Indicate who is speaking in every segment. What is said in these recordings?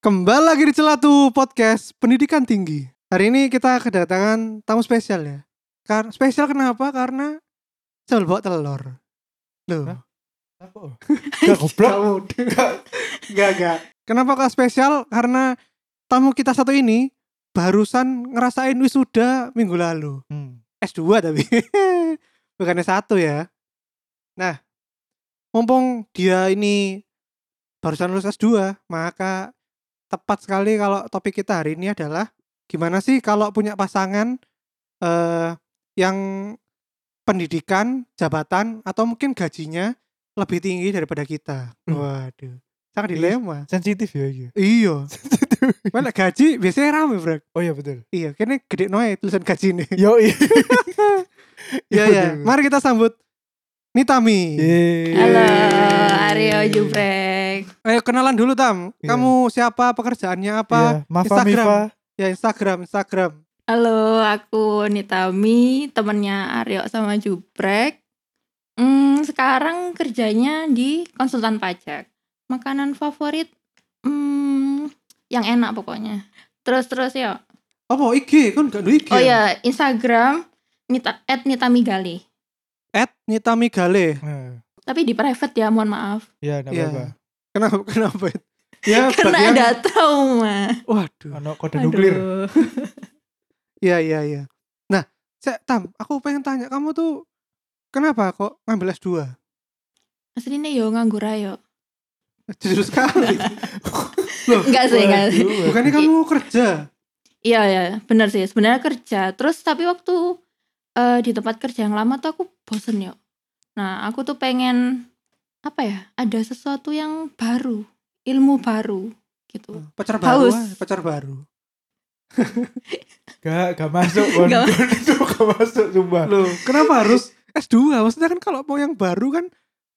Speaker 1: Kembali lagi di Celatu Podcast Pendidikan Tinggi. Hari ini kita kedatangan tamu spesial ya. Kar spesial kenapa? Karena sel bawa telur. Loh,
Speaker 2: Hah? Apa? Gak goblok.
Speaker 1: Gak mudeng. Gak, gak. Kenapa kok spesial? Karena tamu kita satu ini barusan ngerasain wisuda minggu lalu.
Speaker 2: Hmm.
Speaker 1: S2 tapi. Bukannya satu ya. Nah, mumpung dia ini barusan lulus S2, maka tepat sekali kalau topik kita hari ini adalah gimana sih kalau punya pasangan eh yang pendidikan, jabatan atau mungkin gajinya lebih tinggi daripada kita.
Speaker 2: Hmm.
Speaker 1: Waduh. Sangat
Speaker 2: Iya.
Speaker 1: dilema.
Speaker 2: Sensitif ya iya.
Speaker 1: Iya. Mana gaji biasanya rame, Bro.
Speaker 2: Oh iya betul.
Speaker 1: Iya, kene gede noe tulisan gaji ini.
Speaker 2: Yo iya.
Speaker 1: Iya ya. Mari kita sambut Nitami.
Speaker 3: Halo, Aryo Juprek.
Speaker 1: Ayo kenalan dulu Tam.
Speaker 2: Iya.
Speaker 1: Kamu siapa? Pekerjaannya apa?
Speaker 2: Mafa
Speaker 1: Instagram.
Speaker 2: Mifa.
Speaker 1: Ya Instagram, Instagram.
Speaker 3: Halo, aku Nitami, temennya Aryo sama Juprek. Hmm, sekarang kerjanya di konsultan pajak. Makanan favorit hmm, yang enak pokoknya. Terus-terus ya.
Speaker 1: Apa IG? Kan gak ada IG.
Speaker 3: Oh ya, Instagram Nita, at Nitami Gali.
Speaker 1: At Nitami Gale.
Speaker 2: Nah,
Speaker 3: Tapi di private ya, mohon maaf.
Speaker 2: Iya enggak
Speaker 1: Iya.
Speaker 2: apa-apa.
Speaker 1: Kenapa? Kenapa? ya,
Speaker 3: Karena
Speaker 1: bagian-
Speaker 3: ada trauma.
Speaker 1: Waduh.
Speaker 2: Ono kode nuklir.
Speaker 3: Aduh.
Speaker 1: Iya, iya, iya. Nah, Cek Tam, aku pengen tanya kamu tuh kenapa kok ngambil S2?
Speaker 3: Aslinya yo nganggur ayo.
Speaker 1: Jujur sekali.
Speaker 3: Enggak sih, enggak sih.
Speaker 2: Waduh,
Speaker 1: Bukannya kamu kerja?
Speaker 3: Iya ya, benar sih. Sebenarnya kerja. Terus tapi waktu eh, di tempat kerja yang lama tuh aku bosen yuk. Nah, aku tuh pengen apa ya? Ada sesuatu yang baru, ilmu baru gitu.
Speaker 1: Pacar baru,
Speaker 3: Haus.
Speaker 1: ah, pacar baru.
Speaker 2: Gak gak masuk. Wan.
Speaker 3: Gak
Speaker 2: Gak masuk sumpah.
Speaker 1: Loh, kenapa harus S2? Maksudnya kan kalau mau yang baru kan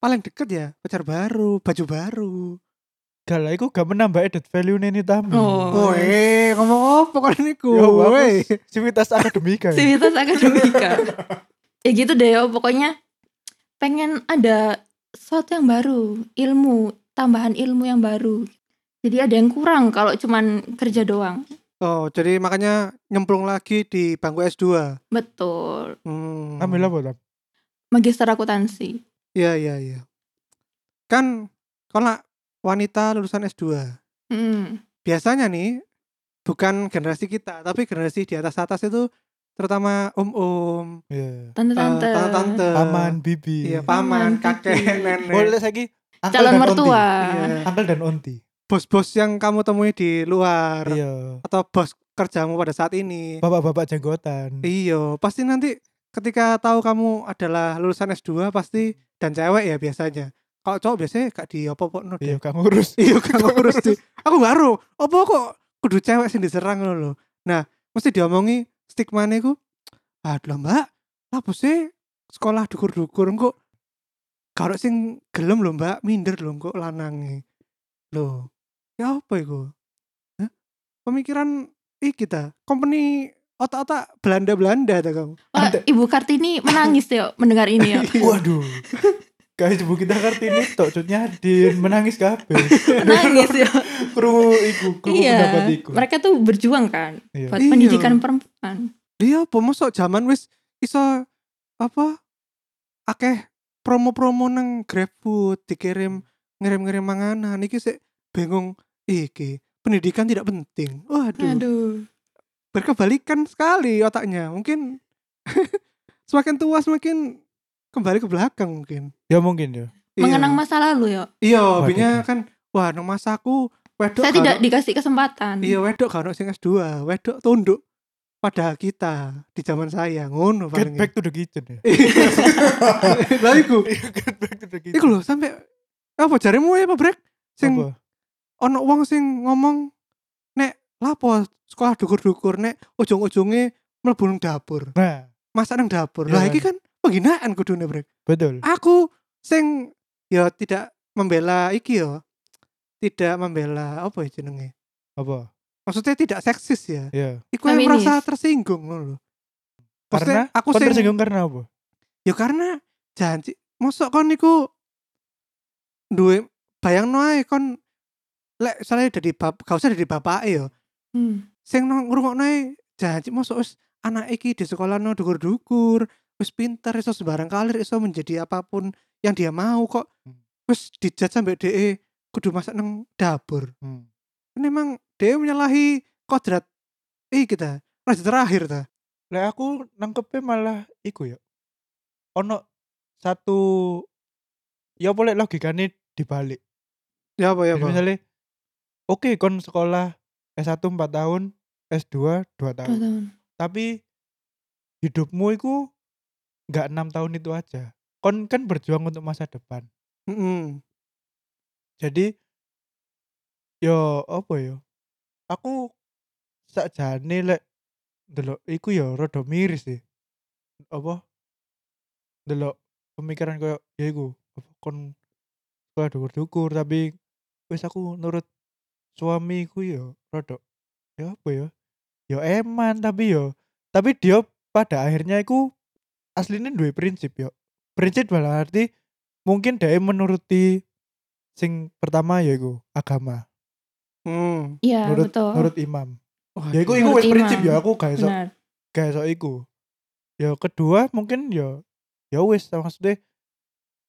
Speaker 1: paling deket ya, pacar baru, baju baru.
Speaker 2: Gak lah iku gak menambah added value nih Nitami.
Speaker 1: Oh,
Speaker 3: Oh.
Speaker 1: eh, ngomong apa kan niku?
Speaker 2: Yo
Speaker 1: weh.
Speaker 2: bagus. Sivitas akademika. ya.
Speaker 3: Sivitas akademika. ya gitu deh, yo. pokoknya pengen ada sesuatu yang baru, ilmu, tambahan ilmu yang baru. Jadi ada yang kurang kalau cuman kerja doang.
Speaker 1: Oh, jadi makanya nyemplung lagi di bangku S2.
Speaker 3: Betul.
Speaker 1: Hmm.
Speaker 2: Ambil apa Tam?
Speaker 3: Magister akuntansi.
Speaker 1: Iya, iya, iya. Kan kalau wanita lulusan S2,
Speaker 3: Hmm.
Speaker 1: biasanya nih bukan generasi kita, tapi generasi di atas-atas itu terutama om-om, eh,
Speaker 2: Iya.
Speaker 3: Tante-tante.
Speaker 1: tante-tante,
Speaker 2: Paman bibi.
Speaker 1: iya, paman,
Speaker 3: Paman,
Speaker 1: kakek,
Speaker 3: bibi.
Speaker 1: nenek.
Speaker 2: gitu. Iya. Boleh Ah. lagi. Uncle
Speaker 3: calon
Speaker 2: dan
Speaker 3: mertua.
Speaker 2: onti.
Speaker 1: Iya.
Speaker 2: Uncle dan onti.
Speaker 1: bos-bos yang kamu temui di luar
Speaker 2: Iya.
Speaker 1: atau bos kerjamu pada saat ini.
Speaker 2: Bapak-bapak jenggotan.
Speaker 1: Iya. Iyo, pasti nanti ketika tahu kamu adalah lulusan S2 pasti dan cewek ya biasanya. Kalau cowok biasanya gak di apa no
Speaker 2: Iya,
Speaker 1: deh.
Speaker 2: gak ngurus.
Speaker 1: Iyo kan ngurus di. Aku baru, apa kok kudu cewek sing diserang ngono lho. Nah, mesti diomongi stigma niku. Aduh lah, Mbak, apa sih sekolah dukur-dukur kok karo sing gelem lho Mbak, minder lho kok lanange. Loh, ya apa iku? Hah? Pemikiran ih kita, company otak-otak Belanda-Belanda ta kamu.
Speaker 3: Wah,
Speaker 2: Ante-
Speaker 3: Ibu Kartini menangis yuk mendengar ini yuk.
Speaker 2: Waduh. Guys, Bu kita Kartini tok cutnya hadir menangis kabeh.
Speaker 1: Iya.
Speaker 3: Menangis yuk.
Speaker 2: Kru iku, kru pendapat
Speaker 3: iya.
Speaker 2: iku.
Speaker 3: Mereka tuh berjuang kan
Speaker 2: Iya.
Speaker 3: buat
Speaker 1: Iya.
Speaker 3: pendidikan perempuan.
Speaker 1: Iya, apa mosok jaman wis iso apa akeh promo-promo nang GrabFood dikirim ngirim-ngirim manganan iki sik bingung iki pendidikan tidak penting. Waduh,
Speaker 3: Aduh.
Speaker 1: berkebalikan sekali otaknya. Mungkin semakin tua semakin kembali ke belakang mungkin.
Speaker 2: Ya mungkin ya.
Speaker 1: Iya.
Speaker 3: Mengenang masa lalu yuk.
Speaker 1: Iya,
Speaker 2: Waduh.
Speaker 1: hobinya kan wah nang masaku wedok
Speaker 3: Saya
Speaker 1: gak
Speaker 3: tidak
Speaker 1: ono-
Speaker 3: dikasih kesempatan.
Speaker 1: Iya, wedok gak ono sing S2, wedok tunduk pada kita di zaman saya ngono
Speaker 2: Get
Speaker 1: paling.
Speaker 2: back to the kitchen ya.
Speaker 1: Lah iku
Speaker 2: Get back to the kitchen.
Speaker 1: Iku lho sampai apa jarimu ya apa brek? Sing
Speaker 2: Apa?
Speaker 1: ono wong sing ngomong nek lapo sekolah dukur-dukur nek ujung-ujungnya mlebu nang dapur.
Speaker 2: Nah,
Speaker 1: Masak nang dapur. Lah
Speaker 2: Iya.
Speaker 1: iki kan penghinaan kudune brek
Speaker 2: betul
Speaker 1: aku sing ya tidak membela iki yo tidak membela apa ya jenenge
Speaker 2: apa
Speaker 1: maksudnya tidak seksis ya
Speaker 2: ya
Speaker 1: iku yang
Speaker 3: Feminis.
Speaker 1: merasa tersinggung ngono lho Maksudnya,
Speaker 2: karena
Speaker 1: aku
Speaker 2: kau
Speaker 1: sing-
Speaker 2: tersinggung karena apa
Speaker 1: ya karena janji mosok kon niku duwe bayangno ae kon lek soalnya dari bab gak usah dari bapak yo
Speaker 3: Hmm.
Speaker 1: sing nang ngrungokno ae janji mosok wis anak iki di sekolah no dukur-dukur wis pinter iso sembarang kalir iso menjadi apapun yang dia mau kok
Speaker 2: Hmm.
Speaker 1: wis dijat sampai DE kudu masak nang dapur
Speaker 2: Hmm.
Speaker 1: ini emang DE menyalahi kodrat eh kita raja terakhir ta
Speaker 2: Lah aku nangkepnya malah iku ya. Ono satu ya boleh logikane dibalik.
Speaker 1: ya apa ya
Speaker 2: Jadi
Speaker 1: apa
Speaker 2: misalnya oke kon sekolah S1 4 tahun, S2 2
Speaker 3: Dua
Speaker 2: tahun.
Speaker 3: tahun.
Speaker 2: Tapi hidupmu itu nggak enam tahun itu aja. Kon kan berjuang untuk masa depan.
Speaker 1: Mm-mm.
Speaker 2: Jadi yo apa yo? Aku sakjane lek delok iku yo rada miris sih. Apa? Delok pemikiran koyo ya iku, apa kon sekolah dukur-dukur tapi wis aku nurut suami ku yo rada ya apa yo? Yo eman tapi yo tapi dia pada akhirnya iku aslinya dua prinsip yo. Prinsip dalam arti mungkin dia menuruti sing pertama ya iku agama
Speaker 1: Hmm.
Speaker 3: Iya,
Speaker 2: Nurut-
Speaker 3: betul.
Speaker 2: menurut imam ya iku
Speaker 1: Waduh.
Speaker 2: iku wis
Speaker 3: Menurut
Speaker 2: prinsip
Speaker 3: imam.
Speaker 2: ya aku gak iso
Speaker 3: Benar.
Speaker 2: gak iso iku ya kedua mungkin ya ya wis maksudnya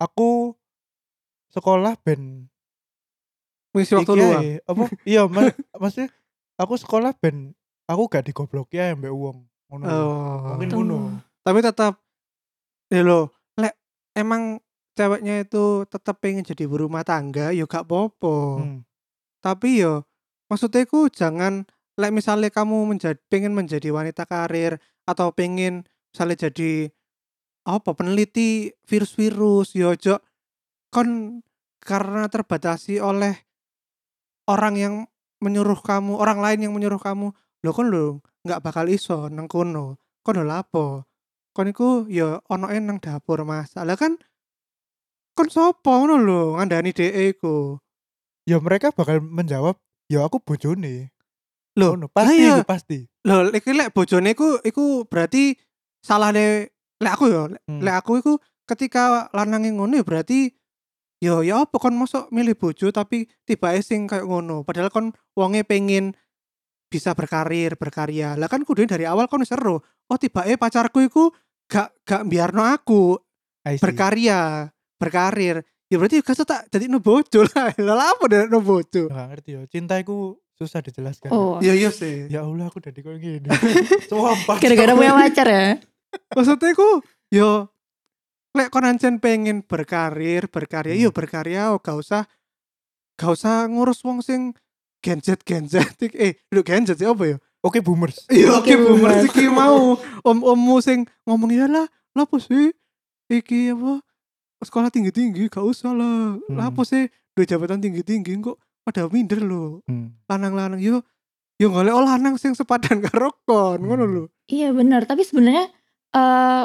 Speaker 2: aku sekolah ben
Speaker 1: Wis waktu
Speaker 2: iki
Speaker 1: luang.
Speaker 2: ae. apa iya ma- maksudnya aku sekolah ben aku gak digobloki ya mbek wong ngono lho.
Speaker 1: Oh.
Speaker 2: mungkin
Speaker 3: Tuh.
Speaker 2: ngono
Speaker 1: Tapi tetap ya lo, lek emang ceweknya itu tetap pengen jadi berumah tangga, yo gak popo.
Speaker 2: Hmm.
Speaker 1: Tapi yo maksudnya ku jangan lek misalnya kamu menjadi pengen menjadi wanita karir atau pengen misalnya jadi apa peneliti virus-virus yo ojo kon karena terbatasi oleh orang yang menyuruh kamu orang lain yang menyuruh kamu lo kon lo nggak bakal iso nang kono kon lho lapo kon iku ya ono nang dapur mas lah kan kon sopo ngono lho ngandani dhek e iku
Speaker 2: ya mereka bakal menjawab ya aku bojone
Speaker 1: Loh,
Speaker 2: Ngono. pasti
Speaker 1: lah ya.
Speaker 2: iku, pasti
Speaker 1: lho iki lek bojone iku iku berarti salah lek aku ya lek-
Speaker 2: Hmm.
Speaker 1: lek aku iku ketika lanange ngono ya berarti yo ya apa kon mosok milih bojo tapi tiba sing kayak ngono padahal kon wonge pengen bisa berkarir berkarya lah kan kudu dari awal kon seru oh tiba pacarku iku gak gak biarno aku
Speaker 2: I see.
Speaker 1: berkarya berkarir ya berarti gak usah tak jadi no bojo lah lah apa dari no bojo
Speaker 2: Gak ngerti ya cinta iku susah dijelaskan
Speaker 3: Oh.
Speaker 1: ya iya sih
Speaker 2: ya Allah aku jadi kayak gini sumpah
Speaker 3: Gara-gara punya pacar ya.
Speaker 1: maksudnya ku yo lek kon ancen pengen berkarir berkarya yo berkarya oh, gak usah gak usah ngurus wong sing genjet genjet eh lu genjet sih apa ya
Speaker 2: oke boomers
Speaker 1: Iya,
Speaker 3: Oke,
Speaker 1: oke boomer
Speaker 3: boomer.
Speaker 1: iki mau om-ommu sing ngomong ya lah, lapo sih iki apa sekolah tinggi-tinggi gak usah lah.
Speaker 2: Hmm.
Speaker 1: Lapo sih duwe jabatan tinggi-tinggi kok pada minder lho.
Speaker 2: Hmm.
Speaker 1: Lanang-lanang yo yo golek oh lanang sing sepadan karo kon
Speaker 2: Hmm.
Speaker 1: ngono lho.
Speaker 3: Iya benar, tapi sebenarnya eh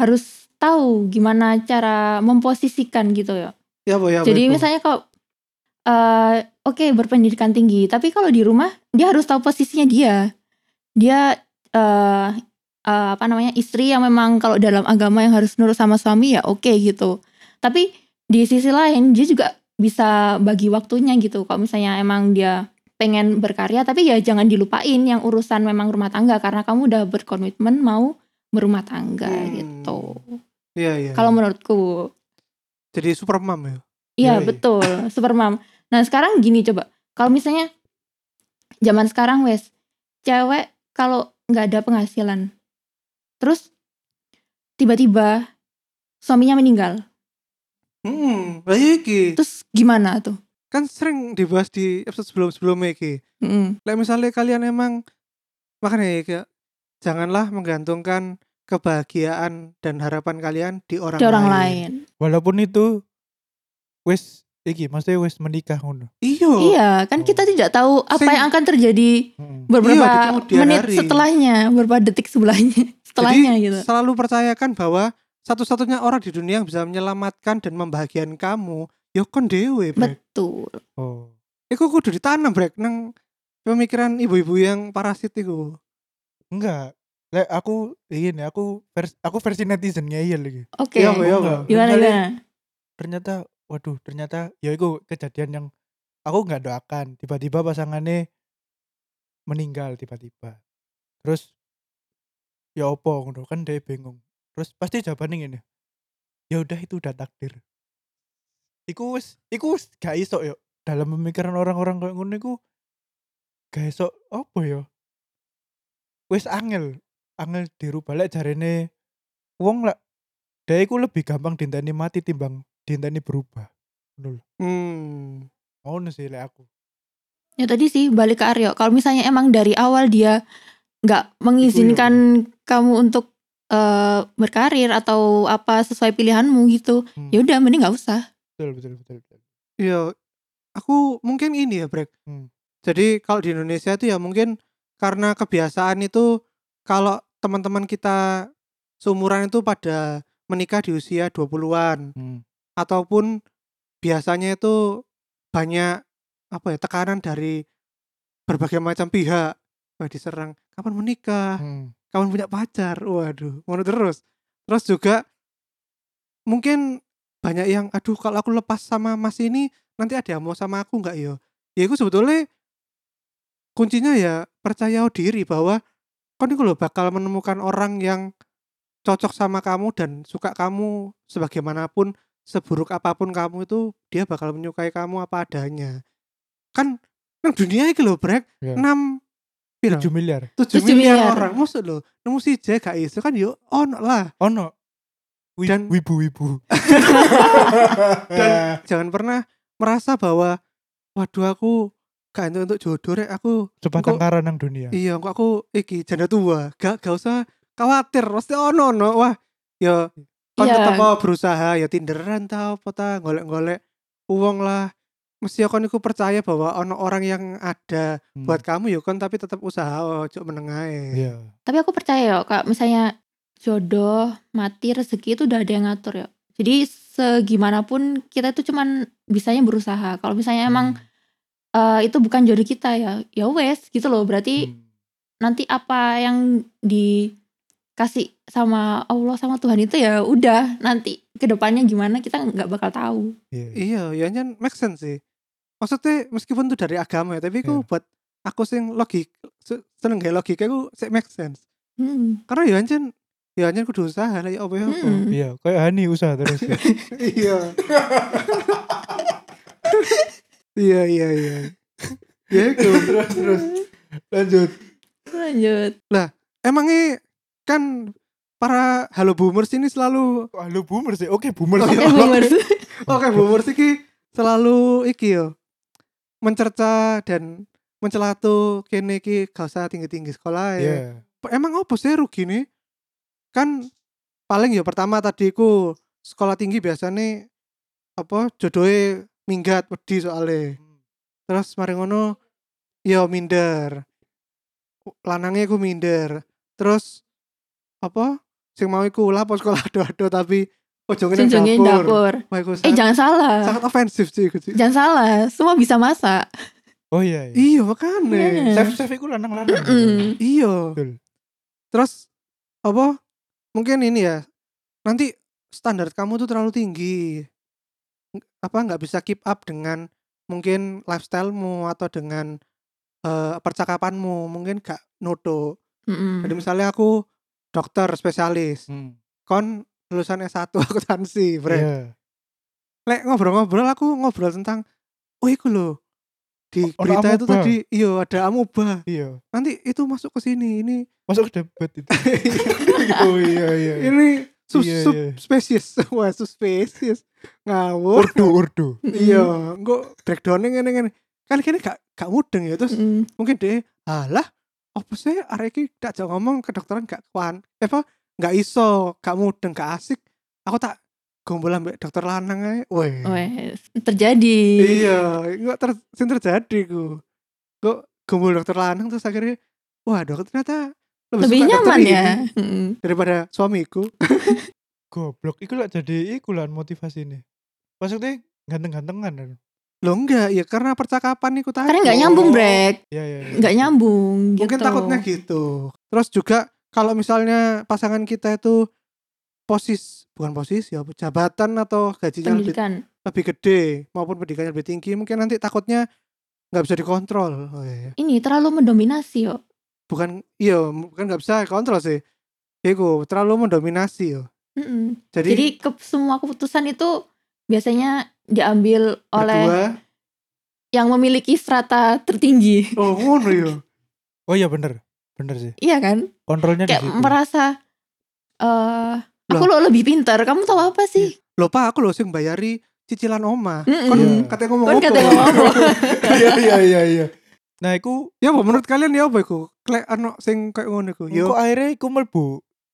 Speaker 3: harus tahu gimana cara memposisikan gitu ya.
Speaker 1: Ya apa ya. apa
Speaker 3: Jadi
Speaker 1: itu?
Speaker 3: misalnya kalau eh oke berpendidikan tinggi, tapi kalau di rumah dia harus tahu posisinya dia. Dia eh eh, apa namanya istri yang memang kalau dalam agama yang harus nurut sama suami ya oke gitu. Tapi di sisi lain dia juga bisa bagi waktunya gitu. Kalau misalnya emang dia pengen berkarya, tapi ya jangan dilupain yang urusan memang rumah tangga karena kamu udah berkomitmen mau berumah tangga
Speaker 1: Hmm.
Speaker 3: gitu.
Speaker 1: Iya, iya.
Speaker 3: Kalau menurutku.
Speaker 1: jadi super mom ya.
Speaker 3: Iya
Speaker 2: Yoi.
Speaker 3: betul, supermom. Nah sekarang gini coba, kalau misalnya zaman sekarang wes cewek kalau nggak ada penghasilan, terus tiba-tiba suaminya meninggal,
Speaker 1: Hmm, lah iya iki
Speaker 3: terus gimana tuh?
Speaker 1: kan sering dibahas di episode sebelum-sebelumnya iki.
Speaker 3: Mm-mm.
Speaker 1: Lek misalnya kalian emang makanya ya, kayak, janganlah menggantungkan kebahagiaan dan harapan kalian di orang,
Speaker 3: Ada orang lain.
Speaker 2: walaupun itu wis iki maksudnya wis menikah ngono
Speaker 1: Iyo.
Speaker 3: Iya kan kita tidak tahu
Speaker 1: Oh.
Speaker 3: apa
Speaker 1: Sing-
Speaker 3: yang akan terjadi
Speaker 2: Mm.
Speaker 3: beberapa
Speaker 1: Iya, di kemudian
Speaker 3: menit
Speaker 1: hari.
Speaker 3: setelahnya, beberapa detik sebelahnya, setelahnya
Speaker 1: Jadi
Speaker 3: gitu.
Speaker 1: selalu percayakan bahwa satu-satunya orang di dunia yang bisa menyelamatkan dan membahagiakan kamu ya kon dhewe, Brek.
Speaker 3: Betul.
Speaker 2: Oh.
Speaker 1: Iku kudu ditanam, Brek, nang pemikiran ibu-ibu yang parasit iku.
Speaker 2: Enggak. Lek aku ini aku vers, aku versi netizennya iya lagi.
Speaker 3: Oke.
Speaker 1: Iya, iya.
Speaker 2: Enggak.
Speaker 3: Gimana
Speaker 2: Misalnya,
Speaker 3: gimana?
Speaker 2: Ternyata waduh, ternyata ya itu kejadian yang aku nggak doakan. Tiba-tiba pasangannya meninggal tiba-tiba. Terus ya opo ngono kan dia bingung. Terus pasti jawabannya gini. Ya udah itu udah takdir. Iku wis iku wis gak iso yo. Dalam pemikiran orang-orang kayak ngono iku gak iso opo yo. Wis angel, angel dirubah lek jarene wong lek dia iku lebih gampang dinteni mati timbang dinteni berubah. Ngono lho.
Speaker 1: Hmm.
Speaker 2: Ngono Oh, sih lek aku.
Speaker 3: Ya tadi sih balik ke Aryo. Kalau misalnya emang dari awal dia nggak
Speaker 2: Hmm.
Speaker 3: mengizinkan kamu untuk eh, berkarir atau apa sesuai pilihanmu gitu,
Speaker 2: Hmm.
Speaker 3: ya udah mending nggak usah.
Speaker 2: Betul betul betul betul.
Speaker 1: Iya, aku mungkin ini ya, Brek.
Speaker 2: Hmm.
Speaker 1: Jadi kalau di Indonesia itu ya mungkin karena kebiasaan itu kalau teman-teman kita seumuran itu pada menikah di usia 20-an
Speaker 2: Hmm.
Speaker 1: ataupun biasanya itu banyak apa ya tekanan dari berbagai macam pihak. Wah, diserang kapan menikah?
Speaker 2: Hmm.
Speaker 1: kawan punya pacar waduh ngono terus terus juga mungkin banyak yang aduh kalau aku lepas sama mas ini nanti ada yang mau sama aku nggak yo ya aku sebetulnya kuncinya ya percaya diri bahwa kau nih lo bakal menemukan orang yang cocok sama kamu dan suka kamu sebagaimanapun seburuk apapun kamu itu dia bakal menyukai kamu apa adanya kan nang dunia iki lho brek
Speaker 2: Ya.
Speaker 1: 6 piro?
Speaker 2: 7 miliar.
Speaker 1: 7 miliar,
Speaker 3: 7 miliar.
Speaker 1: orang maksud lo nemu si J gak iso kan yo ono lah
Speaker 2: Ono. Wi-
Speaker 1: Dan-
Speaker 2: wibu-wibu.
Speaker 1: Dan- jangan pernah merasa bahwa waduh aku gak entuk untuk jodoh rek aku
Speaker 2: sebatang
Speaker 1: Engko-
Speaker 2: kara nang dunia.
Speaker 1: iya kok aku iki janda tua gak gak usah khawatir pasti ono no wah yo kan
Speaker 3: Iya.
Speaker 1: tetep mau berusaha ya tinderan tau apa ta golek-golek uang lah mesti kon iku percaya bahwa ono orang yang ada
Speaker 2: Hmm.
Speaker 1: buat kamu yo kon tapi tetap usaha ojo menengae
Speaker 2: Iya.
Speaker 3: Tapi aku percaya yo, kak misalnya jodoh, mati, rezeki itu udah ada yang ngatur yo. Jadi segimanapun kita itu cuman bisanya berusaha. Kalau misalnya emang
Speaker 2: Hmm.
Speaker 3: eh, itu bukan jodoh kita ya, ya wes gitu loh. Berarti
Speaker 2: Hmm.
Speaker 3: nanti apa yang dikasih sama Allah sama Tuhan itu ya udah nanti kedepannya gimana kita nggak bakal tahu.
Speaker 2: Iya.
Speaker 1: Iya, ya nyen make sense sih. Maksudnya meskipun itu dari agama ya, tapi aku
Speaker 2: Iya.
Speaker 1: buat aku sing logik se- seneng gak logika aku sih make sense.
Speaker 3: Hmm.
Speaker 1: Karena ya nyen ya nyen kudu usaha lah ya apa ya. apa.
Speaker 3: Hmm.
Speaker 2: Iya, kayak Hani usaha terus. ya.
Speaker 1: Iya. Iya iya iya. Ya itu.
Speaker 2: terus terus. Lanjut.
Speaker 3: Lanjut.
Speaker 1: Emangnya kan para halo boomers ini selalu
Speaker 2: Wah, lu boomer sih. Oke, boomer.
Speaker 1: Oke,
Speaker 3: Oke,
Speaker 2: sih.
Speaker 3: boomer.
Speaker 1: Oke, boomers iki selalu iki yo mencerca dan mencelatu kene iki gak usah tinggi-tinggi sekolah ya.
Speaker 2: Iya.
Speaker 1: emang apa sih rugi nih kan paling ya pertama tadi ku sekolah tinggi biasanya apa jodohnya minggat wedi soalnya terus mari ngono ya minder lanangnya ku minder terus apa sing mau iku lapo sekolah ado-ado tapi pojoknya
Speaker 3: Junjungin
Speaker 1: nang dapur,
Speaker 3: dapur.
Speaker 1: Wah, iku
Speaker 3: Eh
Speaker 1: sangat,
Speaker 3: jangan salah.
Speaker 1: sangat ofensif sih iku sih.
Speaker 3: Jangan salah. Semua bisa masak.
Speaker 2: Oh iya.
Speaker 1: iya
Speaker 2: iya.
Speaker 1: makanya
Speaker 3: Iya.
Speaker 2: Chef chef iku lanang-lanang.
Speaker 3: Mm-mm.
Speaker 1: iya
Speaker 2: Betul.
Speaker 1: terus apa mungkin ini ya nanti standar kamu tuh terlalu tinggi Ng- apa nggak bisa keep up dengan mungkin lifestylemu atau dengan eh, percakapanmu mungkin gak noto
Speaker 3: Mm-mm.
Speaker 1: jadi misalnya aku dokter spesialis
Speaker 2: Hmm.
Speaker 1: kon lulusan S1 akuntansi bre
Speaker 2: Iya.
Speaker 1: lek ngobrol-ngobrol aku ngobrol tentang oh iku loh di
Speaker 2: O- Oh,
Speaker 1: berita
Speaker 2: ada
Speaker 1: itu
Speaker 2: amoeba."
Speaker 1: tadi iyo ada amoeba
Speaker 2: Iya.
Speaker 1: nanti itu masuk ke sini ini
Speaker 2: Masuk ke debat itu. oh iya iya. iya.
Speaker 1: ini sub,
Speaker 2: Iya,
Speaker 1: sub
Speaker 2: iya.
Speaker 1: spesies wah sub spesies ngawur
Speaker 2: Urdu urdu.
Speaker 1: iya engko breakdownnya ngene ngene kan kene gak gak mudeng ya terus
Speaker 3: Mm-mm.
Speaker 1: mungkin deh alah apa sih arek iki tak jauh ngomong kedokteran gak kuan eh, apa gak iso gak mudeng gak asik aku tak gombol ambek dokter lanang ae weh
Speaker 3: Oh, Wes, terjadi.
Speaker 1: iya enggak ter sing terjadi ku kok gombol dokter lanang terus akhirnya wah dok ternyata
Speaker 3: Lebih
Speaker 1: suka dokter
Speaker 3: nyaman
Speaker 1: ini
Speaker 3: ya. Mm-mm.
Speaker 1: daripada suamiku
Speaker 2: goblok iku lah jadi iku lah motivasi ini maksudnya ganteng-gantengan kan
Speaker 1: Loh enggak, ya karena percakapan itu tadi.
Speaker 3: Karena nggak nyambung, Brek.
Speaker 2: ya ya ya.
Speaker 3: Nggak nyambung gitu.
Speaker 1: Mungkin takutnya gitu. Terus juga kalau misalnya pasangan kita itu posis bukan posisi ya jabatan atau gajinya lebih,
Speaker 3: pendidikan.
Speaker 1: lebih gede maupun pendidikannya lebih tinggi mungkin nanti takutnya nggak bisa dikontrol oh, iya, iya.
Speaker 3: Ini terlalu mendominasi yo.
Speaker 1: bukan iya bukan nggak bisa kontrol sih Iku terlalu mendominasi yo
Speaker 3: Mm-mm.
Speaker 1: jadi,
Speaker 3: Jadi ke, semua keputusan itu biasanya diambil oleh
Speaker 1: berdua,
Speaker 3: yang memiliki strata tertinggi.
Speaker 1: oh ngono yo
Speaker 2: oh iya bener bener sih
Speaker 3: iya kan?
Speaker 2: kontrolnya di
Speaker 3: Kayak
Speaker 2: situ
Speaker 3: merasa eh aku lo lebih pintar. Kamu tahu apa sih?
Speaker 1: lho pak aku lho sing bayari cicilan oma
Speaker 3: Mm-mm.
Speaker 1: Kon
Speaker 2: Iya.
Speaker 1: katanya ngomong apa?
Speaker 3: Kon Mm. Kan katanya ngomong apa? kan?
Speaker 2: iya iya iya iya nah iku
Speaker 1: ya apa menurut kalian ya apa iku klek ano sing kayak ngono iku Ya, yo
Speaker 2: kok akhirnya iku melbu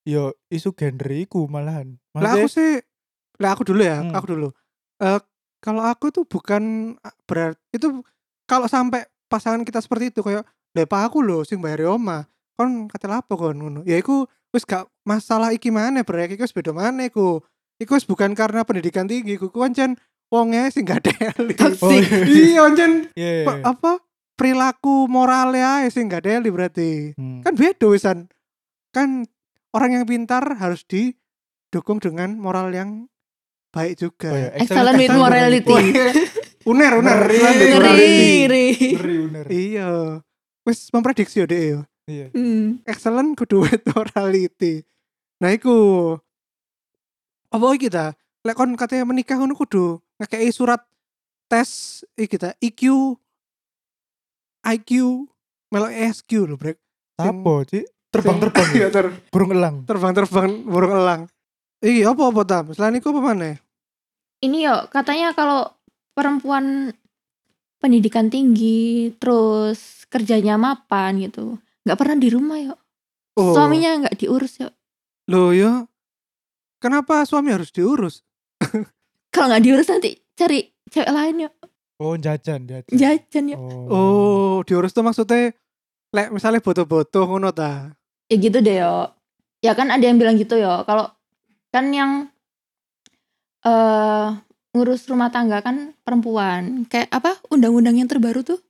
Speaker 2: yo isu gender iku malahan
Speaker 1: Lah aku
Speaker 2: Maksudnya-
Speaker 1: sih, lah aku dulu ya,
Speaker 2: Hmm.
Speaker 1: aku dulu. Eh kalau aku tuh bukan berarti itu kalau sampai pasangan kita seperti itu kayak lepa aku loh sing bayar oma kon kata lapo kon ngono ya iku wis gak masalah iki mana brek iku wis beda mana iku iku wis bukan karena pendidikan tinggi iku ku ancen wonge sing gak ada elit.
Speaker 2: Oh,
Speaker 3: Toxic.
Speaker 2: iya.
Speaker 1: iya ancen
Speaker 2: Iya, iya,
Speaker 1: pe-
Speaker 2: iya.
Speaker 1: apa perilaku moralnya ae sing gak ada elit berarti
Speaker 2: Hmm.
Speaker 1: kan beda wisan kan orang yang pintar harus didukung dengan moral yang baik juga
Speaker 2: Oh, iya.
Speaker 3: Excellent
Speaker 1: Excellent.
Speaker 3: with
Speaker 2: gitu.
Speaker 3: morality.
Speaker 1: Wah, uner uner Excellent
Speaker 2: Ngeri.
Speaker 1: with
Speaker 3: Ngeri,
Speaker 1: morality.
Speaker 3: ngeri.
Speaker 2: Ngeri, bener.
Speaker 1: iya wis memprediksi yo dek yo
Speaker 2: Iya.
Speaker 3: Hmm.
Speaker 1: excellent kudu with morality nah iku apa iki ta lek kon katanya menikah ngono kudu ngekei surat tes iki ta IQ IQ melo ESQ E lho brek
Speaker 2: Apa, Ci?
Speaker 1: terbang
Speaker 2: Terbang-terbang ya?
Speaker 1: ya ter
Speaker 2: Burung elang.
Speaker 1: terbang-terbang burung elang. Iki apa apa tam? Selain iku apa mana?
Speaker 3: ini yo katanya kalau perempuan pendidikan tinggi terus kerjanya mapan gitu nggak pernah di rumah yo
Speaker 1: Oh,
Speaker 2: Oh.
Speaker 3: suaminya nggak diurus yo
Speaker 1: Loh ya. Kenapa suami harus diurus?
Speaker 3: kalau nggak diurus nanti cari cewek lain yo
Speaker 2: Oh, jajan, jajan. ya.
Speaker 3: jajan yo
Speaker 1: Oh, diurus tuh maksudnya lek misalnya boto-boto ngono ta.
Speaker 3: ya gitu deh yo ya kan ada yang bilang gitu yo kalau kan yang eh ngurus rumah tangga kan perempuan kayak apa undang-undang yang terbaru tuh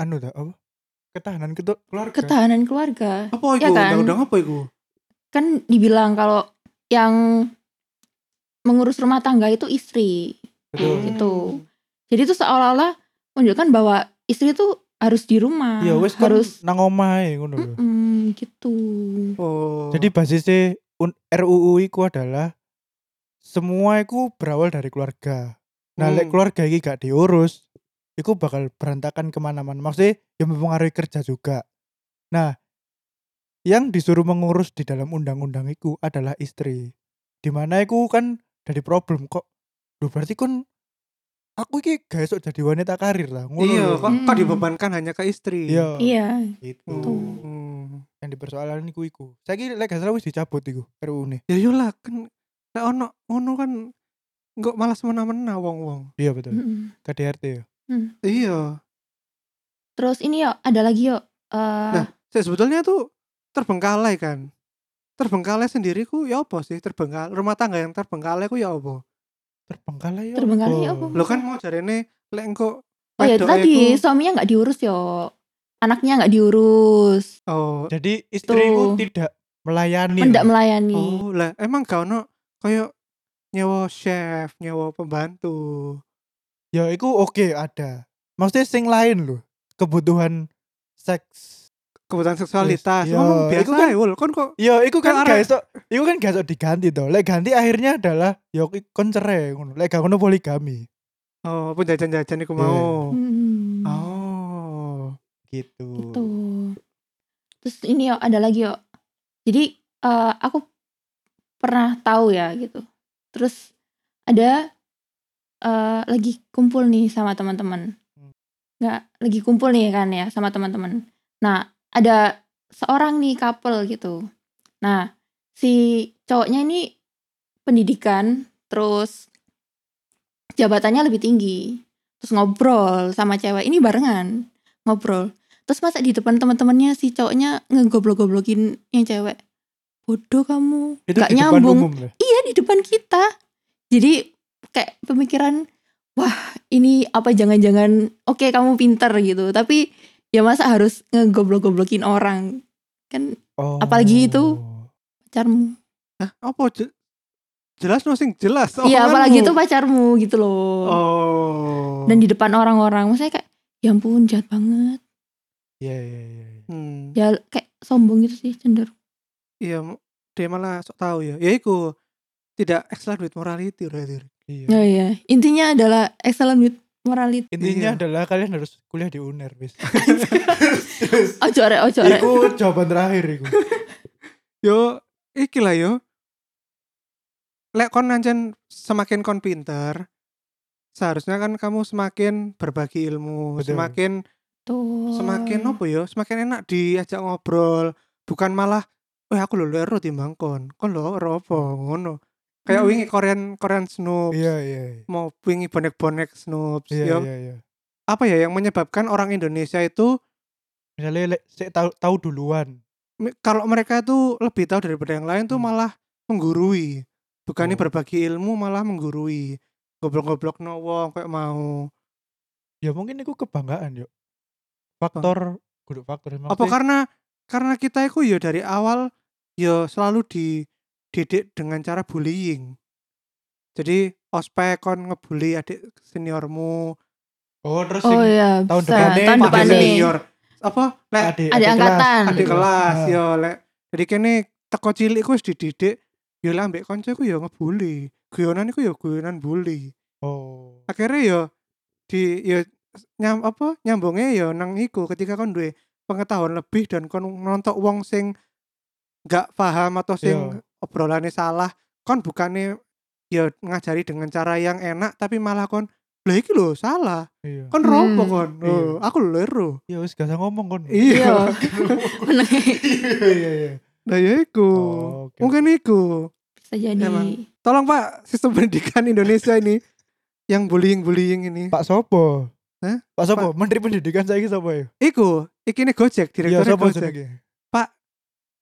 Speaker 2: Anu dah, apa? Ketahanan ketu keluarga.
Speaker 3: ketahanan keluarga
Speaker 1: Apa
Speaker 3: Ya
Speaker 1: iku?
Speaker 3: kan?
Speaker 1: Undang-undang apa iku?
Speaker 3: kan dibilang kalau yang mengurus rumah tangga itu istri.
Speaker 2: Betul.
Speaker 3: Hmm. Gitu. Jadi itu seolah-olah menunjukkan bahwa istri itu harus di rumah,
Speaker 2: Ya wes kan
Speaker 3: harus
Speaker 2: nang omah ae, ngono lho.
Speaker 3: Mm-mm, gitu.
Speaker 1: Oh.
Speaker 2: Jadi basisnya un- RUU iku adalah semua iku berawal dari keluarga. Nah,
Speaker 1: Hmm.
Speaker 2: lek keluarga iki gak diurus, iku bakal berantakan kemana-mana. Maksudnya yang mempengaruhi kerja juga. Nah, yang disuruh mengurus di dalam undang-undang iku adalah istri. Dimana iku kan dari problem kok. Duh, berarti kan aku iki gak esok jadi wanita karir lah. Ngono
Speaker 1: iya,
Speaker 2: lho.
Speaker 1: kok, kok
Speaker 3: Hmm.
Speaker 1: dibebankan hanya ke istri.
Speaker 2: Iya.
Speaker 3: Iya,
Speaker 2: Gitu.
Speaker 1: Hmm.
Speaker 2: Yang dipersoalan iku iku. Saiki lek gak salah wis dicabut iku RUU ne.
Speaker 1: Ya yolah kan lek ono ngono kan enggak malas mena-mena wong-wong.
Speaker 2: Iya betul.
Speaker 3: Mm-mm.
Speaker 2: KDRT ya.
Speaker 1: Iya.
Speaker 3: Terus ini yo ada lagi yo. Eh,
Speaker 1: Nah. Saya sebetulnya tuh terbengkalai kan. Terbengkalai sendiriku ya apa sih? Terbengkalai rumah tangga yang terbengkalai ku ya apa?
Speaker 2: Terbengkalai ya.
Speaker 3: Terbengkalai ya apa?
Speaker 1: Lo kan mau jarene lek engko
Speaker 3: oh ya itu
Speaker 1: wedoke
Speaker 3: tadi
Speaker 1: ku-
Speaker 3: suaminya nggak diurus yo, anaknya nggak diurus,
Speaker 1: Oh,
Speaker 2: Jadi istriku
Speaker 3: Tuh.
Speaker 2: tidak melayani.
Speaker 3: mendak
Speaker 2: loh.
Speaker 3: melayani.
Speaker 1: oh lah emang gak ono koyo nyewa chef, nyewa pembantu.
Speaker 2: Ya, iku oke ada. Maksudnya sing lain loh. Kebutuhan seks.
Speaker 1: Kebutuhan seksualitas.
Speaker 2: Iya,
Speaker 1: Ngomong biasa
Speaker 2: iku kan-
Speaker 1: ae, Wul. Kon kok
Speaker 2: Ya, iku
Speaker 1: Kayak
Speaker 2: kan gak
Speaker 1: arek-
Speaker 2: iso, iku kan gak iso diganti to. Lek ganti akhirnya adalah ya ki- kon cerai ngono. Lek gak ngono poligami
Speaker 1: oh, penjajan-jajan
Speaker 2: Iya.
Speaker 1: iku mau.
Speaker 3: Mm.
Speaker 1: Oh.
Speaker 2: gitu.
Speaker 3: Gitu. Terus ini yo ada lagi yo. Jadi eh, aku pernah tahu ya gitu. Terus ada eh, lagi kumpul nih sama teman-teman.
Speaker 2: Hmm.
Speaker 3: Nggak lagi kumpul nih kan ya sama teman-teman. Nah ada seorang nih couple gitu. Nah si cowoknya ini pendidikan terus jabatannya lebih tinggi. Terus ngobrol sama cewek ini barengan ngobrol terus masa di depan teman-temannya si cowoknya ngegoblok-goblokin yang cewek bodoh kamu
Speaker 2: Itu
Speaker 3: nggak
Speaker 2: di depan
Speaker 3: nyambung
Speaker 2: umum ya? lah.
Speaker 3: iya dia di depan kita jadi kayak pemikiran wah ini apa jangan-jangan oke kamu pinter gitu tapi ya masa harus ngegoblok-goblokin orang kan
Speaker 2: Oh.
Speaker 3: Apalagi itu. pacarmu
Speaker 1: Hah? Apa? Je- jelas no sing jelas.
Speaker 3: iya
Speaker 1: omonganmu.
Speaker 3: apalagi itu pacarmu gitu loh
Speaker 1: Oh.
Speaker 3: dan di depan orang-orang maksudnya kayak ya ampun jahat banget
Speaker 2: Iya iya iya. iya.
Speaker 1: Hmm.
Speaker 3: ya kayak sombong gitu sih cenderung
Speaker 1: Iya, m- dia malah sok tahu ya. Ya iku tidak excellent with morality berarti.
Speaker 2: Iya.
Speaker 3: ya ya intinya adalah excellent with morality
Speaker 1: Iya.
Speaker 2: Intinya adalah kalian harus kuliah di UNER, wis.
Speaker 3: ojo arek ojo arek
Speaker 2: Iku jawaban terakhir iku.
Speaker 1: Yo, iki lah yo. Lek kon nancen semakin kon pinter, seharusnya kan kamu semakin berbagi ilmu,
Speaker 2: Betul.
Speaker 1: semakin
Speaker 3: Betul.
Speaker 1: semakin apa ya, semakin enak diajak ngobrol, bukan malah eh aku lho lero timbang kon. Kon lho ora apa ngono. Kayak
Speaker 3: Hmm.
Speaker 1: wingi Korean Korean Snoop,
Speaker 2: Iya iya. iya.
Speaker 1: mau wingi bonek-bonek Snoop,
Speaker 2: Iya
Speaker 1: yo.
Speaker 2: iya iya.
Speaker 1: Apa ya yang menyebabkan orang Indonesia itu
Speaker 2: Misalnya lek sik tahu tahu duluan.
Speaker 1: me- kalau mereka itu lebih tahu daripada yang lain tuh
Speaker 2: Hmm.
Speaker 1: malah menggurui bukannya
Speaker 2: Oh.
Speaker 1: berbagi ilmu malah menggurui goblok-goblok no wong kayak mau
Speaker 2: Ya mungkin iku kebanggaan yo. Faktor kudu faktor emang.
Speaker 1: apa
Speaker 2: sih.
Speaker 1: karena karena kita itu ya dari awal ya selalu dididik dengan cara bullying jadi ospek kon ngebully adik seniormu
Speaker 2: Oh, terus
Speaker 3: oh
Speaker 2: sing
Speaker 3: ya
Speaker 2: tahun
Speaker 3: bisa
Speaker 2: depannya
Speaker 3: tahun
Speaker 2: Pak
Speaker 1: adik
Speaker 3: depannya
Speaker 1: senior apa lek
Speaker 2: adik,
Speaker 3: Adik angkatan.
Speaker 1: adik
Speaker 3: Adik
Speaker 1: kelas iya.
Speaker 2: Ah.
Speaker 1: yo lek jadi kene teko cilik ku wis dididik yo lek ambek kanca ku yo ngebully guyonan iku yo guyonan bully
Speaker 2: Oh.
Speaker 1: akhirnya yo di yo nyam apa nyambungnya yo nang iku ketika kon duwe pengetahuan lebih dan kon nontok wong sing gak paham atau sing
Speaker 2: Yo.
Speaker 1: obrolannya salah kon bukannya yo ngajari dengan cara yang enak tapi malah kon lho iki lho salah
Speaker 2: Iya.
Speaker 1: kon
Speaker 3: Hmm.
Speaker 1: ropo kon
Speaker 2: Iya.
Speaker 1: Loh, aku lho lero
Speaker 2: Ya wis gak usah ngomong kon.
Speaker 3: iya
Speaker 1: iya
Speaker 2: Iya iya iya.
Speaker 1: nah ya iku
Speaker 2: Oh, oke.
Speaker 1: mungkin iku
Speaker 3: bisa jadi
Speaker 1: Emang. tolong pak sistem pendidikan Indonesia ini yang bullying bullying ini
Speaker 2: Pak Sopo.
Speaker 1: Hah?
Speaker 2: Pak Sopo, Menteri Pendidikan saya Sopo ya?
Speaker 1: iku iki ini gojek
Speaker 2: Iya,
Speaker 1: direktur
Speaker 2: Sopo
Speaker 1: gojek
Speaker 2: jenenge?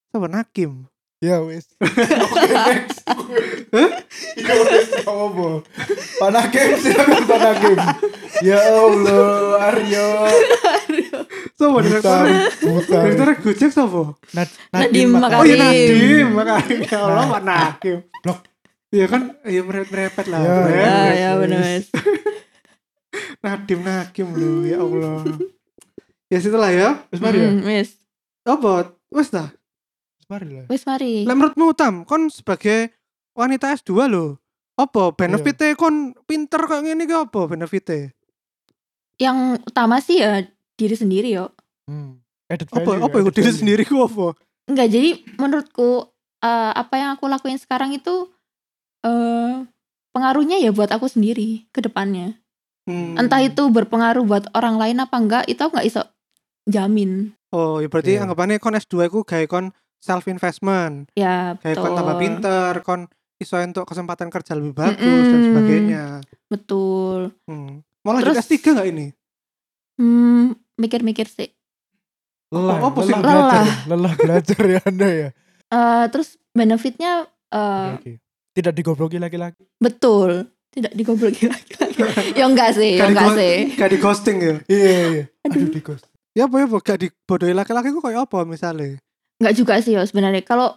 Speaker 1: sama Nakim
Speaker 2: Ya wis. Oke, next. Ya wis Sopo. Pak Nakim silakan Pak Nakim. Ya Allah, Aryo.
Speaker 1: sama
Speaker 2: Buta,
Speaker 1: direktur
Speaker 2: buta.
Speaker 1: direktur gojek sama
Speaker 2: Nad-
Speaker 3: Nadiem
Speaker 1: oh iya
Speaker 3: Makarim.
Speaker 1: Nakim makanya ya Allah pak Nakim
Speaker 2: Blok.
Speaker 1: Iya kan, ya merepet merepet lah.
Speaker 2: Ya,
Speaker 1: Brek.
Speaker 3: ya
Speaker 2: Beres,
Speaker 3: ya benar
Speaker 2: beres.
Speaker 3: Mas.
Speaker 1: Nadim Nakim lu, ya Allah. ya situlah ya.
Speaker 2: Wis mari ya.
Speaker 3: Hmm, wes
Speaker 1: Apa? Wes dah.
Speaker 2: Wis mari ya? lah.
Speaker 3: wes mari
Speaker 1: Lah menurutmu Tam, kon sebagai wanita S2 lo, apa benefitnya
Speaker 2: Iya.
Speaker 1: kon pinter kayak gini ki apa benefitnya?
Speaker 3: yang utama sih ya diri sendiri yo
Speaker 2: Hmm. Added
Speaker 1: Apa
Speaker 2: value,
Speaker 1: apa yang
Speaker 2: added
Speaker 1: diri
Speaker 2: value.
Speaker 1: sendiri ku apa?
Speaker 3: Enggak, jadi menurutku eh, apa yang aku lakuin sekarang itu eh pengaruhnya ya buat aku sendiri ke depannya.
Speaker 1: Hmm.
Speaker 3: Entah itu berpengaruh buat orang lain apa enggak, itu aku nggak bisa jamin.
Speaker 1: Oh, ya berarti
Speaker 2: Iya.
Speaker 1: anggapannya kon S2 ku gawe kon self investment.
Speaker 3: Ya,
Speaker 1: kayak
Speaker 3: betul.
Speaker 1: kon tambah pinter kon iso untuk kesempatan kerja lebih bagus dan
Speaker 3: Mm-mm.
Speaker 1: sebagainya
Speaker 3: Betul.
Speaker 1: hmm. mau lanjut
Speaker 3: Terus-
Speaker 1: S3 gak ini?
Speaker 3: Hmm, mikir-mikir sih.
Speaker 2: lelah,
Speaker 1: Apa- apa sih?
Speaker 2: lelah belajar, lelah belajar ya Anda ya.
Speaker 3: Eh terus benefitnya
Speaker 1: Ah.
Speaker 3: eh
Speaker 1: Hmm.
Speaker 2: Oke, oke. Tidak digobloki laki-laki.
Speaker 3: betul. Tidak digoblokin lagi-lagi. ya enggak sih,
Speaker 1: Gak
Speaker 3: ya
Speaker 1: di
Speaker 3: enggak
Speaker 1: ghost-
Speaker 3: sih.
Speaker 1: gak di ghosting ya?
Speaker 2: Iya iya.
Speaker 3: Aduh.
Speaker 2: Aduh, di ghost.
Speaker 1: ya apa ya apa gak dibodohi laki-laki ku kayak apa misalnya
Speaker 3: Enggak juga sih ya sebenarnya. Kalau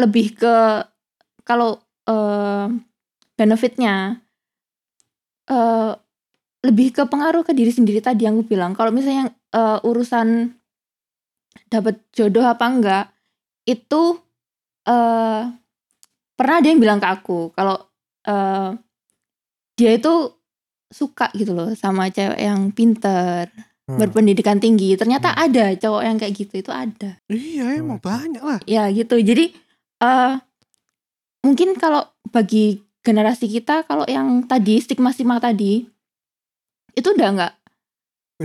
Speaker 3: lebih ke kalau eh, benefitnya eh lebih ke pengaruh ke diri sendiri tadi yang gue bilang. Kalau misalnya eh, urusan dapat jodoh apa enggak itu eh pernah ada yang bilang ke aku kalau eh, dia itu suka gitu loh sama cewek yang pinter,
Speaker 2: Hmm.
Speaker 3: berpendidikan tinggi. Ternyata
Speaker 2: Hmm.
Speaker 3: ada cowok yang kayak gitu itu ada
Speaker 1: iya emang
Speaker 2: Waduh.
Speaker 1: banyak lah
Speaker 3: ya gitu jadi eh mungkin kalau bagi generasi kita kalau yang tadi stigma stigma tadi itu udah nggak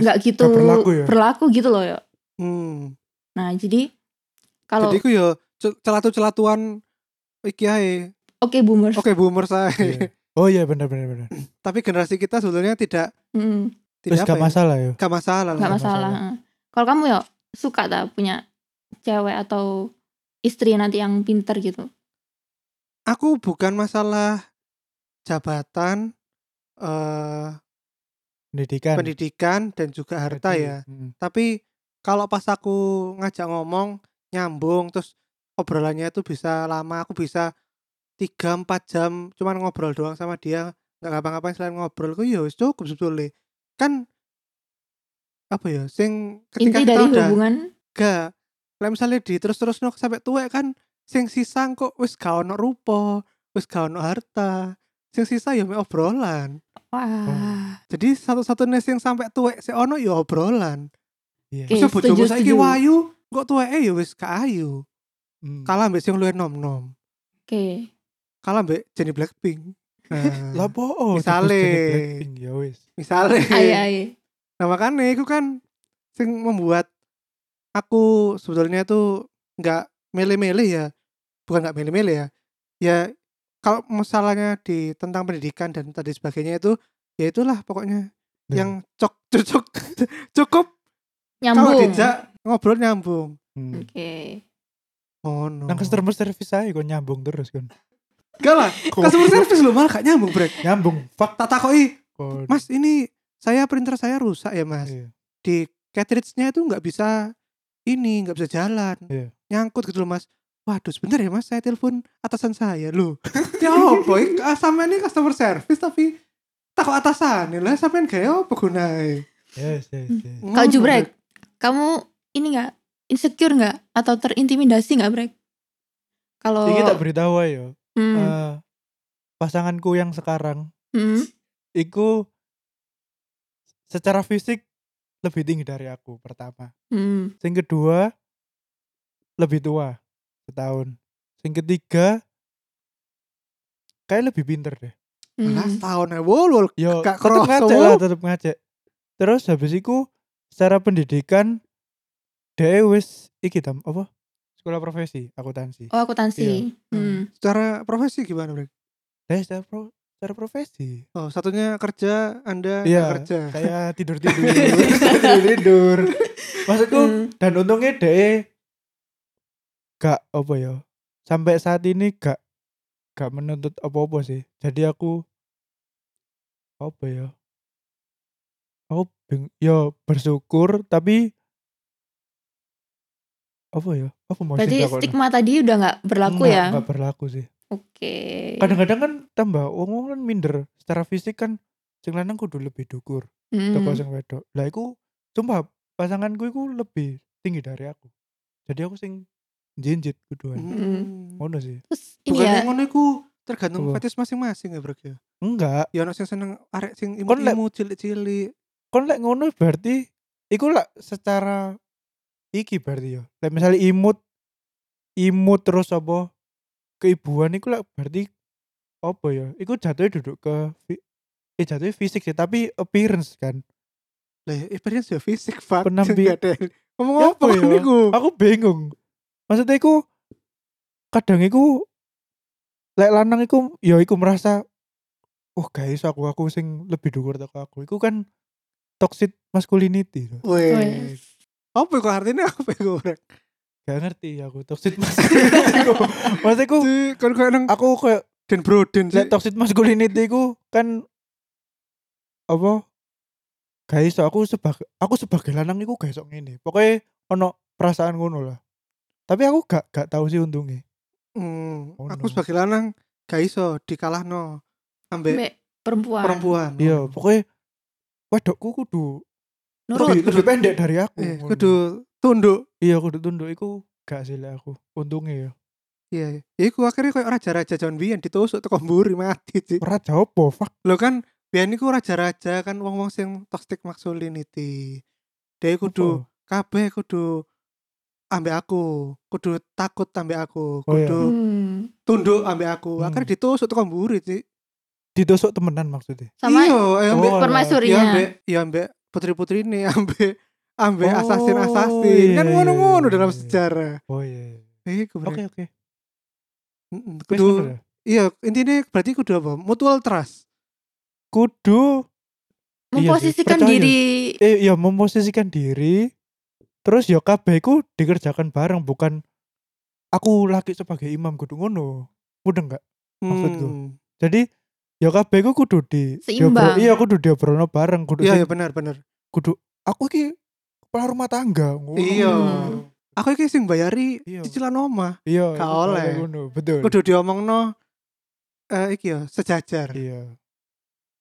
Speaker 2: Wis,
Speaker 3: nggak gitu
Speaker 2: nggak berlaku ya?
Speaker 3: berlaku gitu loh ya
Speaker 1: hmm.
Speaker 3: nah jadi
Speaker 1: jadi
Speaker 3: kalau oke
Speaker 1: ku ya ce- celatu-celatuan iki ae
Speaker 3: boomers
Speaker 1: oke boomer saya
Speaker 2: Iya. Oh iya benar benar benar.
Speaker 1: tapi generasi kita sebetulnya tidak
Speaker 3: Mm,
Speaker 2: Terus
Speaker 1: tidak apa
Speaker 2: gak
Speaker 1: ya?
Speaker 2: masalah ya.
Speaker 1: gak masalah lah
Speaker 3: nggak
Speaker 2: Nggak
Speaker 3: masalah Eh. kalau kamu ya suka tak punya cewek atau istri nanti yang pinter gitu
Speaker 1: aku bukan masalah jabatan eh
Speaker 2: pendidikan
Speaker 1: pendidikan dan juga harta
Speaker 2: Tadi,
Speaker 1: ya
Speaker 2: mm.
Speaker 1: tapi kalau pas aku ngajak ngomong nyambung terus obrolannya itu bisa lama aku bisa 3-4 jam cuman ngobrol doang sama dia nggak ngapa-ngapain selain ngobrol ku ya wis cukup sebetulnya kan apa ya sing ketika kita
Speaker 3: Inti dari
Speaker 1: udah
Speaker 3: hubungan
Speaker 1: gak lah misalnya di terus terus no sampai tua kan sing sisa kok wis gak ono rupa wis gak ono harta sing sisa ya mek obrolan
Speaker 3: wah.
Speaker 1: jadi satu-satunya sing sampai tua sing ono ya obrolan
Speaker 2: Iya.
Speaker 3: Oke.
Speaker 1: Wis bojomu
Speaker 3: Eh, setuju,
Speaker 1: saiki
Speaker 3: setuju.
Speaker 1: wayu, kok tuweke ya wis gak ayu.
Speaker 2: Mm.
Speaker 1: Kalah mbek sing luwih nom-nom.
Speaker 3: Oke.
Speaker 1: Kalah mbek Jenny Blackpink. Nah,
Speaker 2: Lah
Speaker 1: Misale.
Speaker 2: po, dibus jadi Blackpink, ya wis.
Speaker 3: Ayo
Speaker 1: misalnya.
Speaker 3: ayo.
Speaker 1: Nah, makanya itu kan sing membuat aku sebetulnya tuh nggak milih-milih ya. Bukan nggak milih-milih ya. Ya kalau masalahnya di tentang pendidikan dan tadi sebagainya itu ya itulah pokoknya
Speaker 3: Iya.
Speaker 2: Nah,
Speaker 1: yang cocok cocok cukup kalau
Speaker 3: Nyambung. Oke.
Speaker 1: diajak ngobrol nyambung.
Speaker 2: mm.
Speaker 1: Oh no.
Speaker 2: Nang customer service saya kon nyambung terus kon.
Speaker 1: Gak lah, customer service lu malah gak nyambung brek.
Speaker 2: Nyambung fuck
Speaker 1: Tak takoi,
Speaker 2: kon.
Speaker 1: mas ini saya printer saya rusak ya mas.
Speaker 2: Iya.
Speaker 1: Di cartridge-nya itu nggak bisa ini, nggak bisa jalan.
Speaker 2: Iya.
Speaker 1: Nyangkut gitu loh mas. Waduh sebentar ya mas, saya telepon atasan saya lu. ya boy, sama ini customer service tapi tak kok atasan lah sampean gak apa gunai.
Speaker 2: Yes, yes,
Speaker 1: Hmm.
Speaker 2: yes.
Speaker 1: Oh,
Speaker 3: Kau jubrek. Kamu ini nggak insecure nggak atau terintimidasi nggak Brek?
Speaker 1: Oh.
Speaker 3: Kalau
Speaker 2: Iki tak beritahu ayo.
Speaker 3: Hmm,
Speaker 2: Eh, pasanganku yang sekarang
Speaker 3: hmm.
Speaker 2: iku secara fisik lebih tinggi dari aku pertama.
Speaker 3: hmm.
Speaker 2: Sing kedua lebih tua setahun. Sing ketiga kayak lebih pinter deh.
Speaker 3: Hmm.
Speaker 1: Lah setahun ya, wol wol.
Speaker 2: Yo,
Speaker 1: Gak
Speaker 2: tetep
Speaker 1: kerasa,
Speaker 2: ngajak lah,
Speaker 1: Wo.
Speaker 2: tetep ngajak. Terus habis iku secara pendidikan dhewe wis iki tam apa? Sekolah profesi akuntansi.
Speaker 3: Oh akuntansi. Hmm.
Speaker 1: Secara profesi gimana brek?
Speaker 2: Dhewe secara, pro- secara profesi.
Speaker 1: Oh satunya kerja, anda nggak
Speaker 2: Iya.
Speaker 1: kerja.
Speaker 2: Saya tidur tidur tidur tidur. Maksudku
Speaker 3: Hmm.
Speaker 2: dan untungnya deh gak apa ya sampai saat ini gak gak menuntut apa-apa sih jadi aku apa ya aku bing, ya bersyukur tapi apa ya apa mau
Speaker 3: Berarti
Speaker 2: sih takutnya?
Speaker 3: stigma tadi udah nggak berlaku
Speaker 2: Nggak-
Speaker 3: ya? Iya.
Speaker 2: nggak berlaku sih
Speaker 3: Oke.
Speaker 2: kadang-kadang kan tambah wong kan minder secara fisik kan sing lanang kudu lebih dukur
Speaker 3: Hmm.
Speaker 2: toko sing wedok. Lah iku sumpah pasanganku iku lebih tinggi dari aku. Jadi aku sing jinjit kuduan.
Speaker 1: Hmm.
Speaker 2: Ngono sih.
Speaker 3: Terus ini
Speaker 1: Bukan
Speaker 3: ya.
Speaker 1: yang ngono iku tergantung
Speaker 2: Apa?
Speaker 1: fetish masing-masing ya, Bro. Ya
Speaker 2: Enggak,
Speaker 1: Ya ono sing seneng arek sing
Speaker 2: Kon lek-
Speaker 1: imut-imut cilik-cilik.
Speaker 2: kon lek ngono berarti iku lek secara iki berarti ya. Lek misalnya imut imut terus apa keibuan iku lek berarti apa ya? Iku jatuhnya duduk ke fi- eh jatuhnya fisik sih, tapi appearance kan.
Speaker 1: Lah ya experience ya fisik Pak.
Speaker 2: Penampi-
Speaker 1: Sing gak ada- Ngomong
Speaker 2: Ya
Speaker 1: apa
Speaker 2: apa
Speaker 1: kon
Speaker 2: ya?
Speaker 1: niku?
Speaker 2: aku bingung maksudnya aku kadang aku lek lanang iku ya iku merasa oh guys aku aku sing lebih dhuwur teko aku iku kan toxic masculinity loh.
Speaker 1: Weh.
Speaker 3: Wes.
Speaker 1: Apa iku artinya apa ya, iku? Bro?
Speaker 2: gak ngerti aku toxic masculinity iku. maksudnya aku
Speaker 1: Cik, Kon koyo nang
Speaker 2: aku kayak
Speaker 1: Den Broden sih.
Speaker 2: lek toxic masculinity iku kan apa guys aku sebagai aku sebagai lanang iku guys ngene pokoknya ono perasaan ngono lah tapi aku gak gak tahu sih untungnya
Speaker 1: Hmm,
Speaker 2: Oh,
Speaker 1: aku
Speaker 2: no.
Speaker 1: sebagai lanang gak iso dikalahno ambek
Speaker 3: Mbak perempuan.
Speaker 1: perempuan.
Speaker 2: Iya, pokoknya wedokku kudu
Speaker 3: Nurut.
Speaker 2: lebih, lebih pendek Oh, dari aku.
Speaker 1: Eh,
Speaker 2: ngono.
Speaker 1: kudu tunduk.
Speaker 2: Iya, kudu tunduk iku gak sih lek aku. Untungnya ya.
Speaker 1: Iya, iya. ya iku akhirnya koyo raja-raja John Bian ditusuk teko mburi mati, Cik.
Speaker 2: Ora jawab po, fuck.
Speaker 1: Lho kan biyen iku raja-raja kan wong-wong sing toxic masculinity. Dia kudu
Speaker 2: Apa?
Speaker 1: kabeh kudu ambek aku, kudu takut ambek aku,
Speaker 2: Oh, iya.
Speaker 1: kudu
Speaker 3: Hmm.
Speaker 1: tunduk ambek aku.
Speaker 2: Hmm.
Speaker 1: Akhirnya ditusuk tuh mburi sih.
Speaker 2: ditusuk temenan maksudnya.
Speaker 3: Sama
Speaker 1: iya, ya ambek ya
Speaker 2: Oh,
Speaker 3: permaisurinya.
Speaker 1: ambek ya ambek putri-putri ini ambek ambek
Speaker 2: Oh,
Speaker 1: asasin-asasin. kan
Speaker 2: iya, iya,
Speaker 1: ngono-ngono
Speaker 2: iya,
Speaker 1: dalam
Speaker 2: iya.
Speaker 1: sejarah.
Speaker 2: Oh iya.
Speaker 1: Eh,
Speaker 2: Oke,
Speaker 1: kudu,
Speaker 2: oke. Wis
Speaker 1: kudu
Speaker 2: ngono ya.
Speaker 1: iya intinya berarti kudu apa? Mutual trust.
Speaker 2: Kudu
Speaker 3: Memposisikan
Speaker 2: percaya.
Speaker 3: diri.
Speaker 2: eh ya memposisikan diri terus ya kabeh ku dikerjakan bareng bukan aku laki sebagai imam kudu ngono. Mudeng gak? maksudku.
Speaker 1: Hmm.
Speaker 2: Jadi ya kabeh ku kudu di diobro-
Speaker 3: Seimbang.
Speaker 2: Iya kudu diobrolno bareng kudu
Speaker 1: Iya
Speaker 2: sing-
Speaker 1: ya benar benar.
Speaker 2: kudu aku iki kepala rumah tangga. ngono.
Speaker 1: Iya.
Speaker 3: Hmm.
Speaker 1: Aku iki sing bayari
Speaker 2: Oh. Iya.
Speaker 1: cicilan omah.
Speaker 2: Iya.
Speaker 1: Gak
Speaker 2: iya,
Speaker 1: oleh.
Speaker 2: ngono, Betul.
Speaker 1: Kudu diomongno eh iki ya sejajar.
Speaker 2: Iya.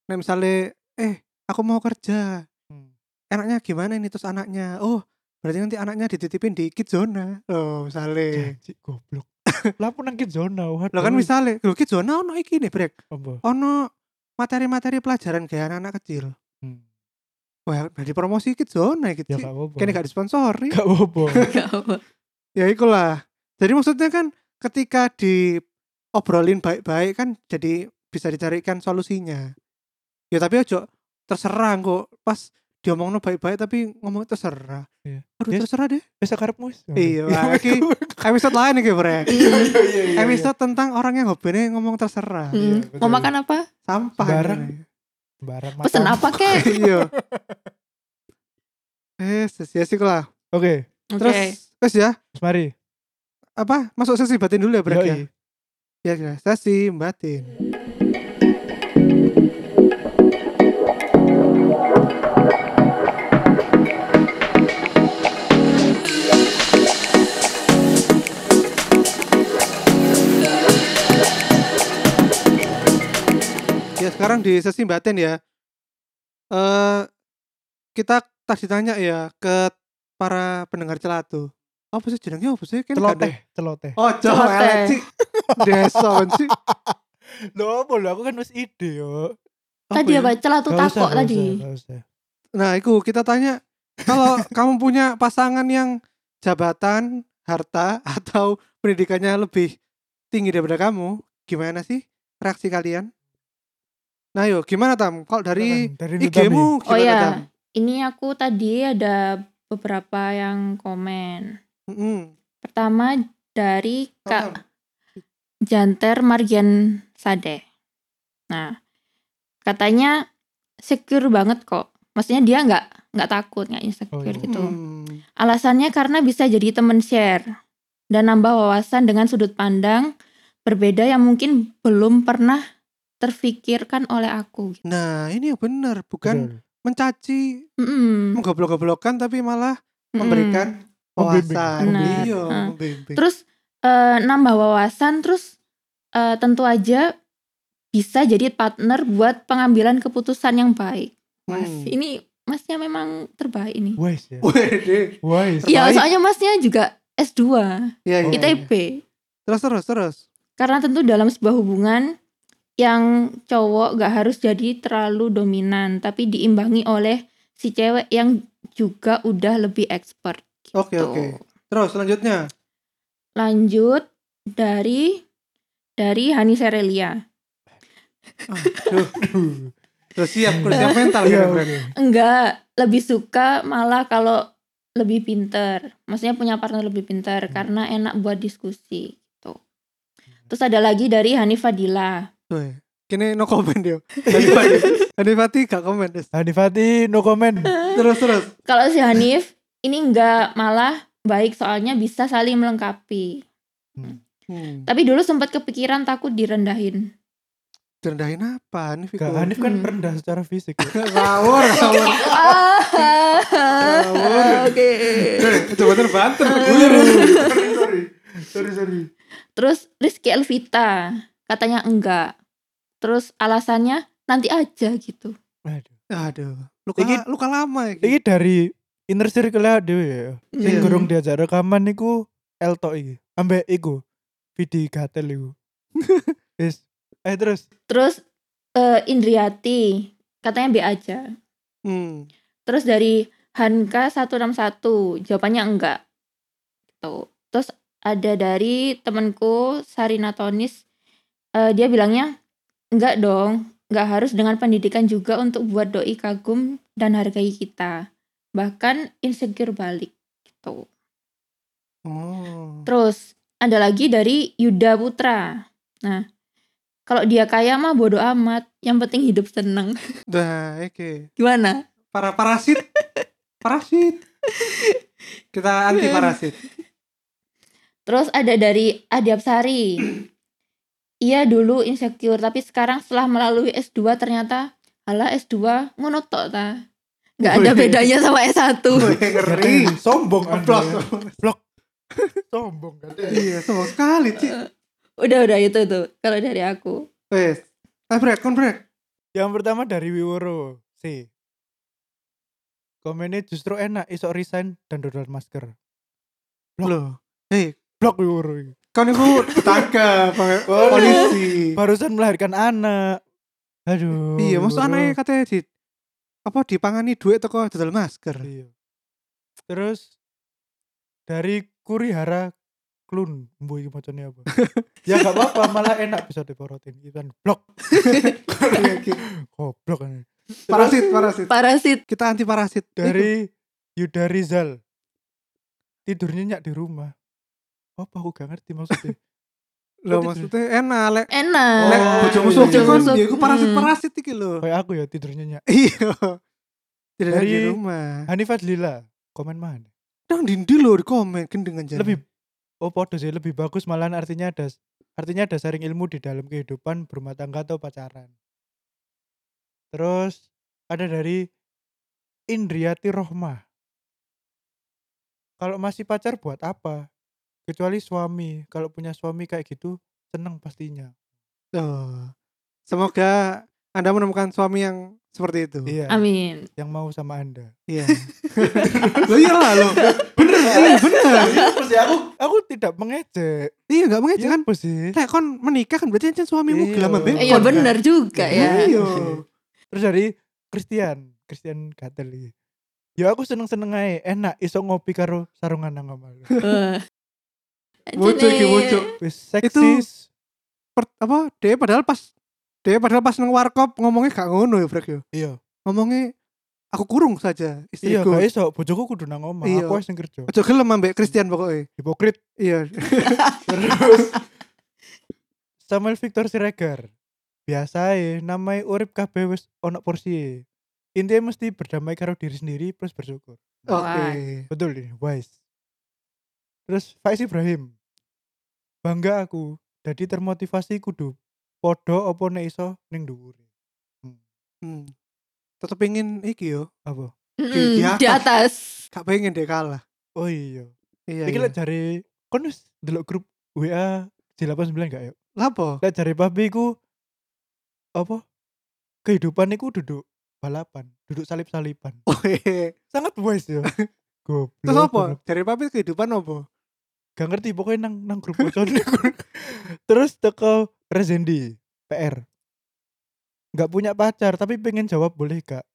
Speaker 1: Nah misalnya eh aku mau kerja.
Speaker 2: Hmm.
Speaker 1: Enaknya gimana ini terus anaknya? Oh, berarti nanti anaknya dititipin di kids zona. Oh, misalnya.
Speaker 2: Janji goblok. Lah pun nang kids zona.
Speaker 1: Lah kan misalnya, lho kids zona ono iki nih, Brek.
Speaker 2: apa?
Speaker 1: Ono materi-materi pelajaran gaya anak-anak kecil.
Speaker 2: Hmm.
Speaker 1: Wah, nah dipromosi kids zona iki.
Speaker 2: Ya
Speaker 1: Ci.
Speaker 2: gak apa-apa.
Speaker 1: Kene gak disponsori.
Speaker 2: Gak apa-apa.
Speaker 3: Gak apa.
Speaker 1: ya ikulah jadi maksudnya kan ketika diobrolin baik-baik kan jadi bisa dicarikan solusinya ya tapi ojo terserah kok pas diomongno baik-baik tapi ngomong terserah
Speaker 2: Iya.
Speaker 1: aduh
Speaker 2: Yes.
Speaker 1: terserah deh
Speaker 2: Wis karepmu wis.
Speaker 1: Iya, iki episode lain nih brek
Speaker 2: iya.
Speaker 1: episode tentang orang yang hobinya ngomong terserah
Speaker 3: Hmm.
Speaker 2: betul.
Speaker 3: Mau makan apa?
Speaker 1: sampah
Speaker 2: Sembarang.
Speaker 1: ini.
Speaker 2: barang
Speaker 3: Pesen apa kek?
Speaker 1: iya eh sis- ya sih lah
Speaker 2: Oke,
Speaker 3: Oke.
Speaker 1: terus terus ya
Speaker 2: Mas Mari.
Speaker 1: apa masuk sesi batin dulu ya brek ya
Speaker 2: Yoi.
Speaker 1: ya ya sesi batin Ya sekarang di sesi batin ya. Eh kita tadi tanya ya ke para pendengar celatu. Apa sih jenenge apa sih? Kan gak ada-
Speaker 2: Celoteh, celoteh.
Speaker 1: Oh,
Speaker 3: Celoteh.
Speaker 1: celoteh. Cik. Desa kan, Cik.
Speaker 2: Lho, apa lho aku kan wis ide yo.
Speaker 3: Tadi
Speaker 1: ya?
Speaker 3: apa? Celah tuh
Speaker 2: Gak usah,
Speaker 3: takok
Speaker 2: gak
Speaker 3: tadi.
Speaker 2: usah, gak usah.
Speaker 1: Nah, itu kita tanya kalau kamu punya pasangan yang jabatan, harta atau pendidikannya lebih tinggi daripada kamu, gimana sih reaksi kalian? Nah, yuk gimana Tam? Kalau dari
Speaker 2: Silakan, dari Nutami.
Speaker 1: IG-mu gimana
Speaker 3: Oh ya,
Speaker 1: Tam?
Speaker 3: ini aku tadi ada beberapa yang komen.
Speaker 1: Mm-mm.
Speaker 3: Pertama dari Kak
Speaker 2: Oh.
Speaker 1: Tam.
Speaker 3: Janter Margian Sade. Nah, katanya secure banget kok. Maksudnya dia nggak nggak takut, nggak insecure
Speaker 2: Oh, iya.
Speaker 3: gitu.
Speaker 1: Mm.
Speaker 3: Alasannya karena bisa jadi teman share dan nambah wawasan dengan sudut pandang berbeda yang mungkin belum pernah terfikirkan oleh aku.
Speaker 1: Nah, ini yang benar, bukan
Speaker 2: Betul.
Speaker 1: mencaci,
Speaker 3: Mm-mm.
Speaker 1: menggoblok-goblokan tapi malah
Speaker 3: Mm-mm.
Speaker 1: memberikan
Speaker 2: Membimbing.
Speaker 1: wawasan.
Speaker 3: Benar.
Speaker 1: Iya,
Speaker 3: Ah.
Speaker 1: membimbing.
Speaker 3: Terus eh, nambah wawasan, terus eh, tentu aja bisa jadi partner buat pengambilan keputusan yang baik. Mas,
Speaker 1: Hmm.
Speaker 3: ini masnya memang terbaik ini.
Speaker 2: Wes ya.
Speaker 1: Wede.
Speaker 2: Wes.
Speaker 3: Iya,
Speaker 1: terbaik.
Speaker 3: soalnya masnya juga S2,
Speaker 1: Iya, iya, iya.
Speaker 3: ITB.
Speaker 1: Terus terus terus.
Speaker 3: Karena tentu dalam sebuah hubungan yang cowok gak harus jadi terlalu dominan, tapi diimbangi oleh si cewek yang juga udah lebih expert. Gitu.
Speaker 1: Oke, oke. Terus selanjutnya.
Speaker 3: Lanjut dari dari Hani Serelia.
Speaker 1: Aduh,
Speaker 2: Aduh.
Speaker 1: udah siap, udah siap mental
Speaker 2: Iya,
Speaker 1: ya,
Speaker 2: oke.
Speaker 1: Bren.
Speaker 3: Enggak, lebih suka malah kalau lebih pinter. Maksudnya punya partner lebih pinter karena enak buat diskusi gitu. Terus ada lagi dari Hanif Fadila.
Speaker 1: Weh, Kini no comment dia. Hanifati, Hanifati gak komen. Des.
Speaker 2: Hanifati no comment.
Speaker 1: Terus terus.
Speaker 3: Kalau si Hanif ini enggak malah baik soalnya bisa saling melengkapi.
Speaker 1: Hmm.
Speaker 3: Tapi dulu sempat kepikiran takut direndahin.
Speaker 1: Direndahin apa Hanif?
Speaker 2: Gak, Hanif kan
Speaker 3: Hmm.
Speaker 2: rendah secara fisik. ya.
Speaker 1: Ngawur, ngawur.
Speaker 3: Oke.
Speaker 1: Eh, Coba terus banter.
Speaker 2: sorry, sorry.
Speaker 3: Terus Rizky Elvita katanya enggak. Terus alasannya nanti aja gitu.
Speaker 2: Aduh.
Speaker 1: Aduh, luka,
Speaker 2: Iki-
Speaker 1: luka lama ya.
Speaker 2: Ini dari inner circle ya dhewe ya. Sing
Speaker 1: Iya.
Speaker 2: gorong diajak rekaman niku Elto iki. Ambek iku Vidi Gatel iku. Wis. Eh terus
Speaker 3: Terus eh, Indriati katanya B aja.
Speaker 1: Hmm.
Speaker 3: Terus dari Hanka 161 jawabannya enggak. Tuh. Terus ada dari temanku Sarina Tonis eh, dia bilangnya enggak dong, enggak harus dengan pendidikan juga untuk buat doi kagum dan hargai kita. Bahkan insecure balik gitu.
Speaker 1: Oh.
Speaker 3: Terus ada lagi dari Yuda Putra. Nah, kalau dia kaya mah bodo amat, yang penting hidup seneng.
Speaker 1: Nah, oke.
Speaker 3: Gimana?
Speaker 1: Para parasit. Parasit. Kita anti parasit.
Speaker 3: Terus ada dari Adiapsari. iya dulu insecure tapi sekarang setelah melalui S2 ternyata ala S2 ngono tok ta. Enggak ada
Speaker 1: Wih.
Speaker 3: bedanya sama S1.
Speaker 1: Iya, Ngeri.
Speaker 2: sombong
Speaker 1: Aplaus.
Speaker 2: Anda. sombong kan
Speaker 1: Iya, sombong sekali, Ci.
Speaker 3: udah udah itu tuh kalau dari aku.
Speaker 1: Wes. Ah, break, kon break.
Speaker 2: yang pertama dari Wiworo C komennya justru enak isok resign dan dodolan masker
Speaker 1: Loh. Hei,
Speaker 2: blok Wiworo ini.
Speaker 1: kon Kan iku ditangkap oleh polisi.
Speaker 2: barusan melahirkan anak aduh
Speaker 1: Iya, maksud
Speaker 2: Wiworo.
Speaker 1: anaknya katanya di apa dipangani duit teko dodol masker.
Speaker 2: Iya. Terus dari Kurihara Klun, mbo iki macamnya apa? ya gak apa-apa, malah enak bisa diporotin. Ikan blok, iya, goblok kan.
Speaker 1: parasit, parasit.
Speaker 3: Parasit.
Speaker 1: Kita anti parasit.
Speaker 2: Dari Yuda Rizal. Tidur nyenyak di rumah. Apa aku gak ngerti maksudnya?
Speaker 1: Loh, maksudnya enak lek
Speaker 3: Enak.
Speaker 1: lek
Speaker 2: Oh,
Speaker 1: bojomu
Speaker 2: iya,
Speaker 1: suki
Speaker 2: iya.
Speaker 1: kon
Speaker 3: Bojomu
Speaker 1: ya iku
Speaker 3: suki.
Speaker 1: parasit-parasit iki lho.
Speaker 2: Kayak aku ya tidur nyenyak.
Speaker 1: Iya. Tidak ada di
Speaker 2: Dari-
Speaker 1: rumah.
Speaker 2: Hanifat Lila, komen mana?
Speaker 1: Dang dindi lho di komen gendengan jalan.
Speaker 2: Lebih Oh podo sih lebih bagus malahan artinya ada artinya ada sharing ilmu di dalam kehidupan berumah tangga atau pacaran. Terus ada dari Indriati Rohmah. Kalau masih pacar buat apa? Kecuali suami. Kalau punya suami kayak gitu seneng pastinya.
Speaker 1: Oh. Semoga Anda menemukan suami yang seperti itu.
Speaker 2: Iya.
Speaker 3: Amin.
Speaker 2: Yang mau sama anda.
Speaker 1: Iya. lo iyalah lo. Bener sih, bener.
Speaker 2: aku aku tidak mengejek.
Speaker 1: Iya, enggak mengejek
Speaker 2: Iya
Speaker 1: kan.
Speaker 2: apa sih?
Speaker 1: Lek kon menikah kan berarti ancen suamimu
Speaker 2: Iya.
Speaker 1: gelam ambek.
Speaker 2: Kon
Speaker 3: Iya
Speaker 1: kon.
Speaker 3: bener juga ya.
Speaker 1: Iya.
Speaker 2: Terus dari Christian, Christian Gatel iki. Ya aku seneng-seneng aja, enak iso ngopi karo sarungan nang amal.
Speaker 3: Eh.
Speaker 1: Bocok iki
Speaker 3: Jadi-
Speaker 1: bocok.
Speaker 2: Wis
Speaker 1: Itu-
Speaker 2: seksis.
Speaker 1: Per- apa? Dia padahal pas dia padahal pas nang warkop ngomongnya gak ngono ya, Brek yo.
Speaker 2: Iya.
Speaker 1: Ngomongnya aku kurung saja
Speaker 2: Iya,
Speaker 1: istriku.
Speaker 2: gak iso bojoku kudu nang omah,
Speaker 1: Iya.
Speaker 2: aku wis sing kerja.
Speaker 1: Ojo gelem ambek Christian pokoknya.
Speaker 2: Hipokrit.
Speaker 1: Iya.
Speaker 2: Terus Samuel Victor Siregar. Biasae namai urip kabeh wis ana porsi. e. Intinya mesti berdamai karo diri sendiri plus bersyukur.
Speaker 1: Oke.
Speaker 2: Betul ini, wise. Terus Faiz Ibrahim. Bangga aku, jadi termotivasi kudu podo opo nek iso ning dhuwur.
Speaker 1: Hmm. Tetep pengen iki yo.
Speaker 2: Apa?
Speaker 3: Mm-mm,
Speaker 1: Di atas.
Speaker 3: Di atas.
Speaker 1: Gak pengen dia kalah.
Speaker 2: Oh iya.
Speaker 1: Iya.
Speaker 2: Iki
Speaker 1: iya.
Speaker 2: lek jare kon wis delok grup WA J89 gak ya?
Speaker 1: Lapo?
Speaker 2: Lek jare papi ku apa? Kehidupan iku duduk balapan, duduk salip-salipan.
Speaker 1: Oh, iya.
Speaker 2: Sangat wise ya. Goblok.
Speaker 1: Terus
Speaker 2: goblok.
Speaker 1: apa? Dari papi kehidupan apa?
Speaker 2: Gak ngerti pokoknya nang nang grup bocoran. Terus teko Rezendi PR. Gak punya pacar tapi pengen jawab boleh gak?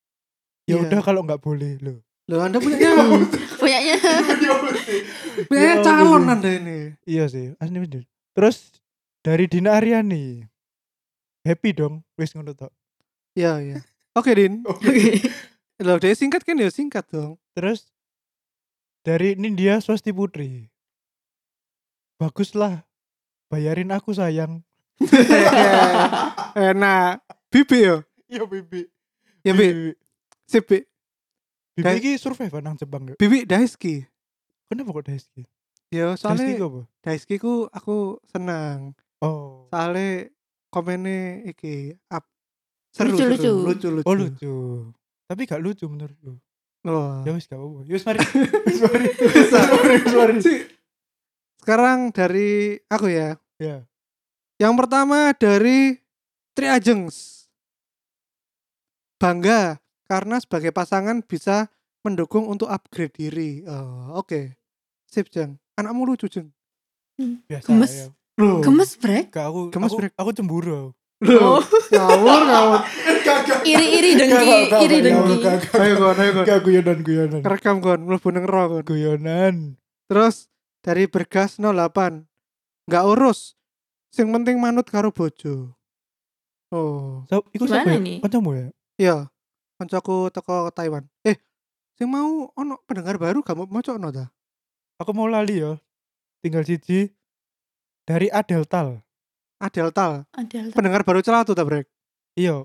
Speaker 2: Ya
Speaker 1: Iya.
Speaker 2: udah kalau nggak boleh loh.
Speaker 1: Loh, Anda punya
Speaker 3: Punyanya.
Speaker 1: punya
Speaker 2: Ya,
Speaker 1: calon
Speaker 2: bener.
Speaker 1: Anda ini.
Speaker 2: Iya sih, asli bener. Terus dari Dina Aryani. Happy dong, wis ngono tok.
Speaker 1: Iya, iya. Oke, Din.
Speaker 3: Oke.
Speaker 1: Loh, dia singkat kan ya singkat dong.
Speaker 2: Terus dari Nindya Swasti Putri. Baguslah. Bayarin aku sayang.
Speaker 1: Enak. Eh, nah, Bibi yo.
Speaker 2: Iya, Bibi. Iya,
Speaker 1: Ya, Bi. Sip, Bi.
Speaker 2: Bibi
Speaker 1: Kayak-
Speaker 2: iki survei Pak, nang Jepang. gak?
Speaker 1: Bibi Daisky.
Speaker 2: Kenapa kok Daisy?
Speaker 1: Ya,
Speaker 2: Daisy
Speaker 1: soalnya
Speaker 2: kok apa?
Speaker 1: Daisky ku aku senang.
Speaker 2: Oh.
Speaker 1: Soalnya komennya iki up. Seru,
Speaker 3: Lucu,
Speaker 1: seru.
Speaker 3: lucu.
Speaker 1: lucu.
Speaker 2: Oh lucu. Tapi gak lucu menurutku.
Speaker 1: Wah.
Speaker 2: Ya wis gak apa-apa. Yus mari. Yus mari. Yus
Speaker 1: Bisa.
Speaker 2: mari. Yus mari.
Speaker 1: Ci, Sekarang dari aku ya.
Speaker 2: Ya.
Speaker 1: Yang pertama dari Tri Ajengs. Bangga karena sebagai pasangan bisa mendukung untuk upgrade diri. Oh, oke. Sip, Jeng. Anakmu lucu, Jeng.
Speaker 2: Biasa
Speaker 3: Gemes.
Speaker 2: ya.
Speaker 1: Loh.
Speaker 3: Gemes brek.
Speaker 2: Gak aku,
Speaker 1: Gemes,
Speaker 2: aku,
Speaker 1: Brek.
Speaker 2: aku cemburu.
Speaker 1: Loh. Ngawur, ngawur.
Speaker 3: Iri-iri dengki, iri dengki.
Speaker 1: Ayo, Gon, ayo, Gon.
Speaker 2: Gak guyonan guyonan.
Speaker 1: Rekam, Gon. Mlebu neng roh, Gon.
Speaker 2: Guyonan.
Speaker 1: Terus dari Bergas 08. Nggak urus. Sing penting manut karo bojo. Oh.
Speaker 2: So, iku
Speaker 3: Gimana
Speaker 2: siapa ya?
Speaker 3: ini?
Speaker 2: Kancamu ya?
Speaker 1: Iya. Kancaku teko Taiwan. Eh, sing mau ono pendengar baru gak mau mocokno ta?
Speaker 2: Aku mau lali ya. Tinggal siji dari Adeltal.
Speaker 1: Adel Tal.
Speaker 3: Ada letak-
Speaker 1: pendengar baru celatu ta brek
Speaker 2: Iya.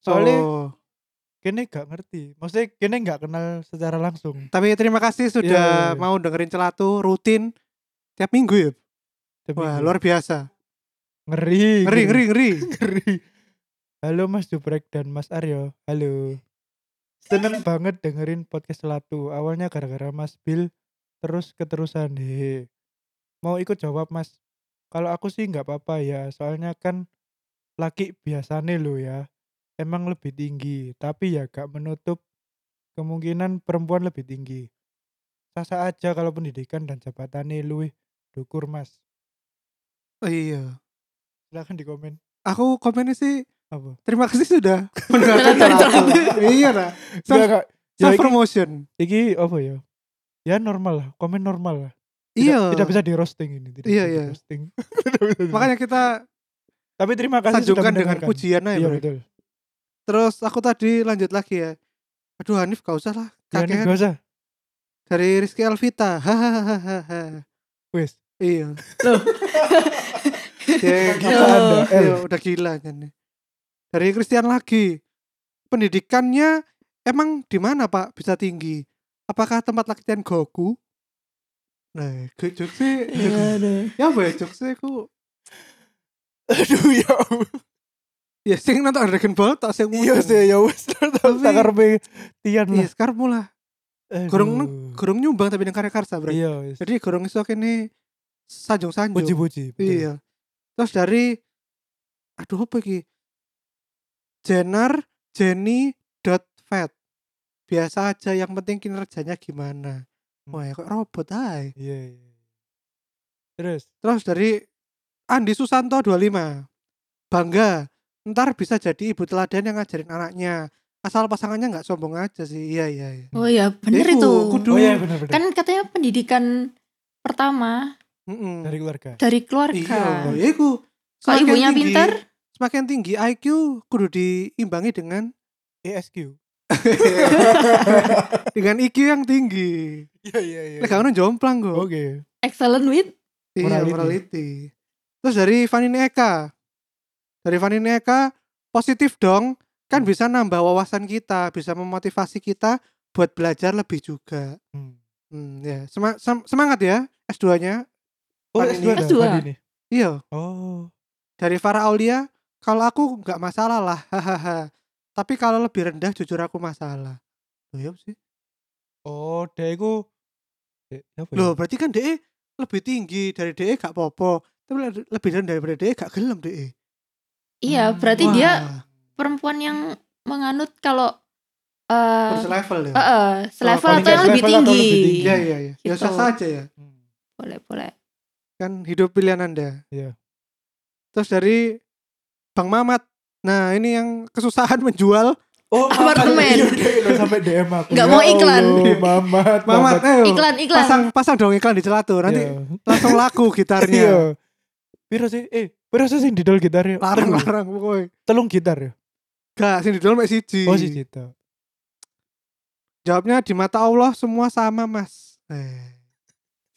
Speaker 2: Soalnya
Speaker 1: Oh,
Speaker 2: kene gak ngerti. Maksudnya kene gak kenal secara langsung.
Speaker 1: tapi terima kasih sudah
Speaker 2: Iya, iya, iya.
Speaker 1: mau dengerin celatu rutin tiap minggu ya
Speaker 2: Tapi
Speaker 1: wah
Speaker 2: gue-
Speaker 1: luar biasa
Speaker 2: Ngeri. gitu.
Speaker 1: ngeri ngeri ngeri
Speaker 2: Ngeri. Halo Mas Duprek dan Mas Aryo. Halo. Seneng banget dengerin podcast Selatu. Awalnya gara-gara Mas Bill terus keterusan. Hehe. Mau ikut jawab Mas. Kalau aku sih nggak apa-apa ya. Soalnya kan laki biasane lo ya. Emang lebih tinggi, tapi ya gak menutup kemungkinan perempuan lebih tinggi. Sasa aja kalau pendidikan dan jabatannya luwih dukur mas.
Speaker 1: Oh, iya
Speaker 2: Silahkan dikomen.
Speaker 1: aku komennya sih
Speaker 2: Apa?
Speaker 1: terima kasih sudah mendengarkan cerita aku. iya lah Self-
Speaker 2: Nggak, nggak. Ya,
Speaker 1: self
Speaker 2: iki-
Speaker 1: promotion
Speaker 2: Iki apa ya? Ya normal lah, komen normal lah. Tidak,
Speaker 1: iya
Speaker 2: Tidak bisa di roasting ini. Tidak
Speaker 1: Iya,
Speaker 2: bisa
Speaker 1: iya.
Speaker 2: Di roasting. Tidak bisa di-
Speaker 1: makanya kita
Speaker 2: Tapi terima kasih sudah
Speaker 1: sanjungkan dengan
Speaker 2: mendengarkan.
Speaker 1: pujian aja
Speaker 2: Iya
Speaker 1: bro.
Speaker 2: betul.
Speaker 1: terus aku tadi lanjut lagi ya aduh Hanif gak usah lah kakek
Speaker 2: Jangan Iya, gak usah.
Speaker 1: dari Rizky Alvita hahaha
Speaker 2: Wes.
Speaker 1: iya
Speaker 3: Loh.
Speaker 1: ya,
Speaker 2: Apa
Speaker 1: gila.
Speaker 2: Anda, El?
Speaker 1: Iya, udah gila kan dari Christian lagi pendidikannya emang di mana pak bisa tinggi apakah tempat latihan Goku nah ke jokes sih
Speaker 2: Iya.
Speaker 1: ya apa ya jokes sih aku
Speaker 2: Aduh ya. Allah.
Speaker 1: ya sing nonton Dragon Ball tak sing
Speaker 2: Iya
Speaker 1: mudeng.
Speaker 2: sih ya wes. Tak
Speaker 1: Tapi-
Speaker 2: karpe tian
Speaker 1: iya
Speaker 2: lah.
Speaker 1: sekarang mula gorong neng- gorong nyumbang tapi nang karya karsa bro
Speaker 2: Iya wes.
Speaker 1: jadi gorong iso kene sanjung sanjung
Speaker 2: Puji-puji. betul.
Speaker 1: iya terus dari aduh apa iki Jenner Jenny dot fat biasa aja yang penting kinerjanya gimana
Speaker 2: Hmm.
Speaker 1: wah kok robot ay
Speaker 2: Iya. iya. Terus.
Speaker 1: terus dari Andi Susanto 25 bangga ntar bisa jadi ibu teladan yang ngajarin anaknya asal pasangannya nggak sombong aja sih iya iya, iya.
Speaker 3: oh ya
Speaker 1: Iku,
Speaker 3: bener itu
Speaker 1: kudu.
Speaker 2: Oh iya benar-benar.
Speaker 3: kan katanya pendidikan pertama
Speaker 1: Mm-mm.
Speaker 2: Dari keluarga.
Speaker 3: dari
Speaker 1: iya
Speaker 3: keluarga
Speaker 1: ya iku
Speaker 3: kalau
Speaker 1: Semakin
Speaker 3: ibunya
Speaker 1: tinggi-
Speaker 3: pinter
Speaker 1: semakin tinggi IQ kudu diimbangi dengan Iya,
Speaker 2: ESQ.
Speaker 1: dengan IQ yang tinggi
Speaker 2: Iya iya iya.
Speaker 1: Lek gak ono jomplang kok.
Speaker 2: Oke.
Speaker 3: excellent with
Speaker 1: Iya,
Speaker 2: Morality.
Speaker 1: morality. Terus dari Vanine Eka. Dari Vanine Eka, positif dong.
Speaker 2: Hmm.
Speaker 1: Kan bisa nambah wawasan kita, bisa memotivasi kita buat belajar lebih juga.
Speaker 2: Hmm.
Speaker 1: Hmm, ya. Sema- sem- semangat ya S2-nya.
Speaker 2: Oh,
Speaker 1: Pan
Speaker 2: S2
Speaker 1: ini.
Speaker 2: ada,
Speaker 3: S2.
Speaker 2: pan ini.
Speaker 1: Iya,
Speaker 2: Oh.
Speaker 1: dari Farah Aulia, kalau aku nggak masalah lah. Hahaha. Tapi kalau lebih rendah jujur aku masalah. Loh, ya apa sih.
Speaker 2: Oh, dia iku Dek, apa ya?
Speaker 1: Loh, berarti kan DE lebih tinggi dari DE gak popo. Tapi le- lebih rendah daripada DE gak gelem E. DE.
Speaker 3: iya
Speaker 2: Hmm.
Speaker 3: berarti
Speaker 1: Wah,
Speaker 3: dia perempuan yang menganut kalau eh
Speaker 1: harus level ya.
Speaker 3: eh, selevel
Speaker 1: Oh, selevel
Speaker 3: atau yang lebih
Speaker 2: atau lebih
Speaker 3: tinggi
Speaker 2: tinggi.
Speaker 1: Iya iya iya. Ya
Speaker 3: Gitu.
Speaker 1: sah saja ya.
Speaker 2: Hmm.
Speaker 3: boleh boleh
Speaker 1: Kan hidup pilihan Anda.
Speaker 2: Iya.
Speaker 1: Terus dari Bang Mamat. Nah, ini yang kesusahan menjual.
Speaker 2: Oh,
Speaker 3: Apartemen.
Speaker 2: Mamat. Iya, Dek, lo sampai DM aku.
Speaker 3: Nggak
Speaker 2: Ya
Speaker 3: mau iklan.
Speaker 2: Allah, Mamat,
Speaker 1: Mamat, ayo.
Speaker 3: iklan iklan
Speaker 1: Pasang pasang dong iklan di celatu. Nanti
Speaker 2: Iya.
Speaker 1: langsung laku
Speaker 2: Iya.
Speaker 1: gitarnya.
Speaker 2: Piro sih? Eh, piro sih sing didol gitar ya? Telung-
Speaker 1: Larang-larang pokoknya.
Speaker 2: Telung gitar ya?
Speaker 1: Gak, sini didol mek siji.
Speaker 2: Oh, siji to.
Speaker 1: Jawabnya di mata Allah semua sama, Mas. Eh.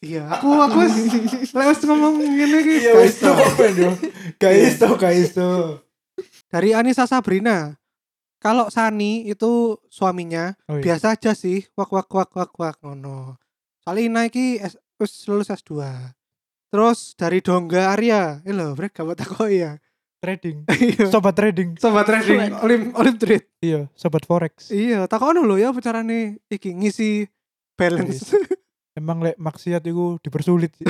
Speaker 1: Iya, aku aku wis lek wis ngomong ngene iki.
Speaker 2: Iya,
Speaker 1: gak
Speaker 2: wis
Speaker 1: iso.
Speaker 2: komen yo. Guys, to, guys, to.
Speaker 1: Iya. Dari Anissa Sabrina. Kalau Sani itu suaminya,
Speaker 2: Oh, iya.
Speaker 1: biasa aja sih wak wak wak wak wak ngono soalnya Ina iki S, wis lulus S2 terus dari Dongga Arya eh lho brek gak takok ya
Speaker 2: trading.
Speaker 1: Iya.
Speaker 2: Sobat trading.
Speaker 1: sobat trading
Speaker 3: Sobat.
Speaker 1: olim olim trade
Speaker 2: Iya, sobat forex.
Speaker 1: iya takono lho ya carane iki ngisi balance
Speaker 2: Emang lek maksiat iku dipersulit sih.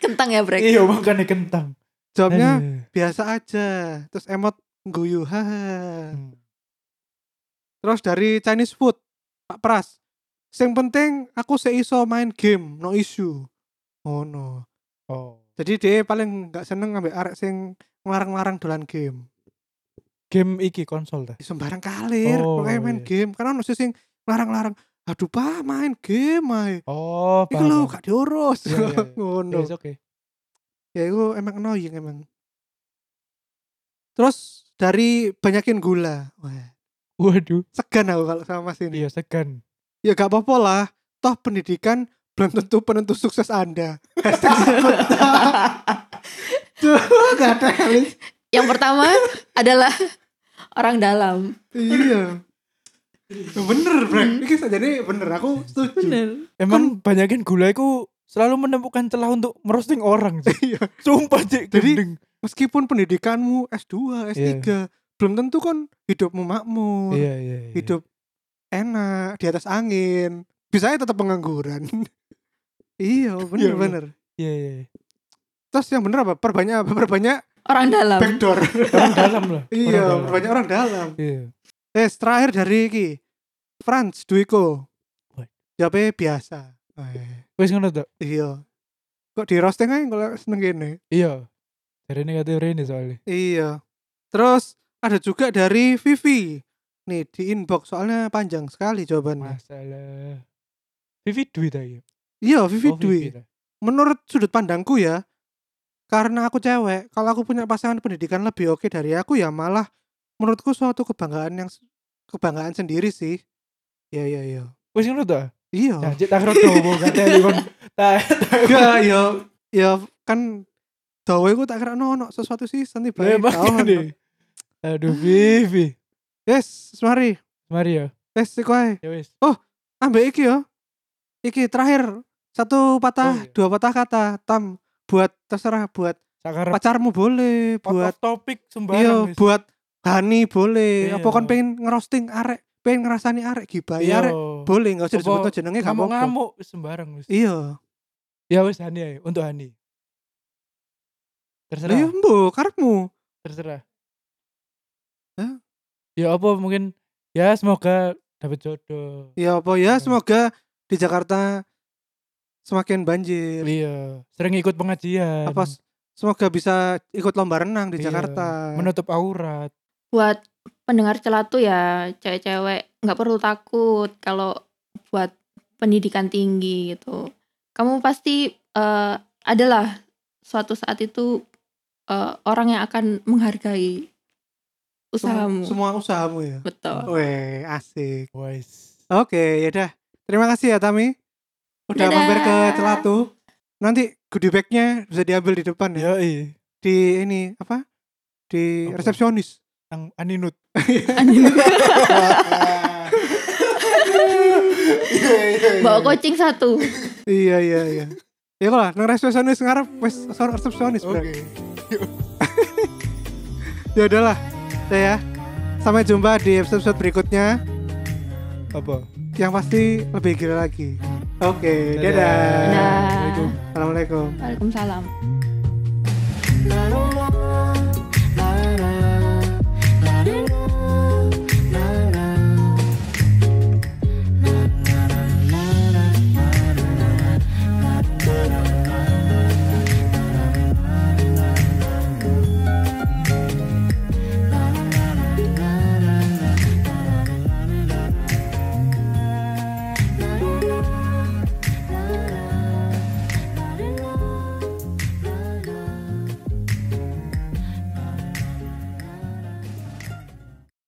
Speaker 3: kentang ya brek
Speaker 2: Iya, makanya kentang.
Speaker 1: jawabnya
Speaker 2: Eh,
Speaker 1: biasa aja terus emot guyu haha
Speaker 2: hmm.
Speaker 1: terus dari Chinese food Pak Pras yang penting aku seiso main game no issue oh no
Speaker 2: Oh.
Speaker 1: Jadi dia paling nggak seneng ngambil arek sing ngelarang-larang dolan game.
Speaker 2: Game iki konsol dah.
Speaker 1: Ya, Sembarang kalir,
Speaker 2: Oh,
Speaker 1: pokoknya main
Speaker 2: iya.
Speaker 1: game. Karena ono sih sing ngelarang-larang. Aduh pak main game ay.
Speaker 2: Oh,
Speaker 1: Iku lho gak diurus.
Speaker 2: Iya, iya, iya.
Speaker 1: Ngono.
Speaker 2: Yes, oke.
Speaker 1: Ya iku emang annoying emang. Terus dari banyakin gula. Wah,
Speaker 2: Waduh,
Speaker 1: segan aku kalau sama mas ini.
Speaker 2: iya segan.
Speaker 1: Ya gak apa-apa lah. Toh pendidikan belum tentu penentu sukses Anda. Hashtag sebentar. Duh, gak ada kali.
Speaker 3: yang pertama adalah orang dalam
Speaker 1: iya bener brek ini jadi bener aku
Speaker 2: Iya.
Speaker 1: setuju
Speaker 2: Emang banyakin gula itu selalu menemukan celah untuk merosting orang. Cik.
Speaker 1: iya
Speaker 2: Sumpah cik,
Speaker 1: Jadi-
Speaker 2: gendeng.
Speaker 1: meskipun pendidikanmu S2, S3, belum tentu kan hidupmu makmur,
Speaker 2: iya iya iya.
Speaker 1: hidup enak di atas angin. Bisa aja tetap pengangguran. iya,
Speaker 2: Iya, bener.
Speaker 1: bener-bener.
Speaker 2: iya iya iya.
Speaker 1: Terus yang bener apa? Perbanyak apa? Perbanyak
Speaker 3: orang dalam
Speaker 1: backdoor.
Speaker 2: orang Kan dalam lah
Speaker 1: iya,
Speaker 2: orang dalam.
Speaker 1: perbanyak orang dalam.
Speaker 2: iya
Speaker 1: Eh, terakhir dari iki. Franz Duiko.
Speaker 2: Woi.
Speaker 1: Jawabnya biasa. Eh,
Speaker 2: wes ngono tok
Speaker 1: Iya. Kok di roasting aja kalau seneng gini.
Speaker 2: iya dari ini kata ini soalnya
Speaker 1: Iya. Terus ada juga dari Vivi. Nih di inbox soalnya panjang sekali jawabannya.
Speaker 2: masalah Vivi duit aja
Speaker 1: Iya, Vivi
Speaker 2: Oh,
Speaker 1: Dwi.
Speaker 2: ta.
Speaker 1: Menurut sudut pandangku ya, karena aku cewek, kalau aku punya pasangan pendidikan lebih oke dari aku ya malah menurutku suatu kebanggaan yang kebanggaan sendiri sih. Iya, iya, iya.
Speaker 2: wes ngono tok
Speaker 1: Iya.
Speaker 2: janji tak kira dobo kata ini kon tak
Speaker 1: Enggak, ya ya kan dawe ku tak kira ono sesuatu sih nanti baik.
Speaker 2: Baik nih aduh Vivi
Speaker 1: Yes, mari.
Speaker 2: mari ya
Speaker 1: Yes, iku ae.
Speaker 2: ya wes
Speaker 1: ambek iki yo. Iki terakhir satu patah,
Speaker 2: Oh, iya.
Speaker 1: dua patah kata tam buat terserah buat
Speaker 2: sakar
Speaker 1: pacarmu boleh, buat
Speaker 2: buat topik
Speaker 1: iya,
Speaker 2: sembarang wis.
Speaker 1: buat Hani boleh.
Speaker 2: Iya.
Speaker 1: Apa kon pengen ngerosting arek, pengen ngerasani arek gibai
Speaker 2: Iya.
Speaker 1: arek boleh nggak usah
Speaker 2: Apa
Speaker 1: disebut jenenge gak apa-apa.
Speaker 2: ngamuk-ngamuk wis sembarang wis
Speaker 1: Iya.
Speaker 2: ya wes Hani ae untuk Hani
Speaker 1: Lah yo
Speaker 2: terserah
Speaker 1: mbok karepmu.
Speaker 2: terserah
Speaker 1: Hah?
Speaker 2: ya apa mungkin ya semoga dapat jodoh
Speaker 1: Ya apa ya
Speaker 2: Iya.
Speaker 1: semoga di Jakarta semakin banjir.
Speaker 2: iya sering ikut pengajian
Speaker 3: Iya,
Speaker 1: Apa s- semoga bisa ikut lomba renang di
Speaker 2: Iya.
Speaker 1: Jakarta.
Speaker 2: menutup aurat
Speaker 3: buat pendengar celatu ya cewek-cewek nggak perlu takut kalau buat pendidikan tinggi gitu kamu pasti eh, adalah suatu saat itu eh, orang yang akan menghargai usahamu
Speaker 1: Semua usahamu ya.
Speaker 3: betul
Speaker 1: Weh, asik.
Speaker 2: wes
Speaker 1: Oke, ya dah. Terima kasih ya Tami. Udah
Speaker 3: Dadah.
Speaker 1: mampir ke Celatu. Nanti goodie bag-nya bisa diambil di depan ya.
Speaker 2: ya i
Speaker 1: Di ini apa? Di
Speaker 2: Apa?
Speaker 1: resepsionis.
Speaker 2: Ang aninut
Speaker 3: bawa coaching satu
Speaker 1: iya, iya, iya. Ya kok lah, nang resepsionis ngarep wes sorry, resepsionis, Bro.
Speaker 2: oke
Speaker 1: Ya udahlah. Ya. Sampai jumpa di episode berikutnya
Speaker 2: apa
Speaker 1: yang pasti lebih gila lagi. Oke, dadah.
Speaker 3: Dadah.
Speaker 2: Assalamualaikum.
Speaker 1: Assalamualaikum.
Speaker 3: Waalaikumsalam
Speaker 4: La la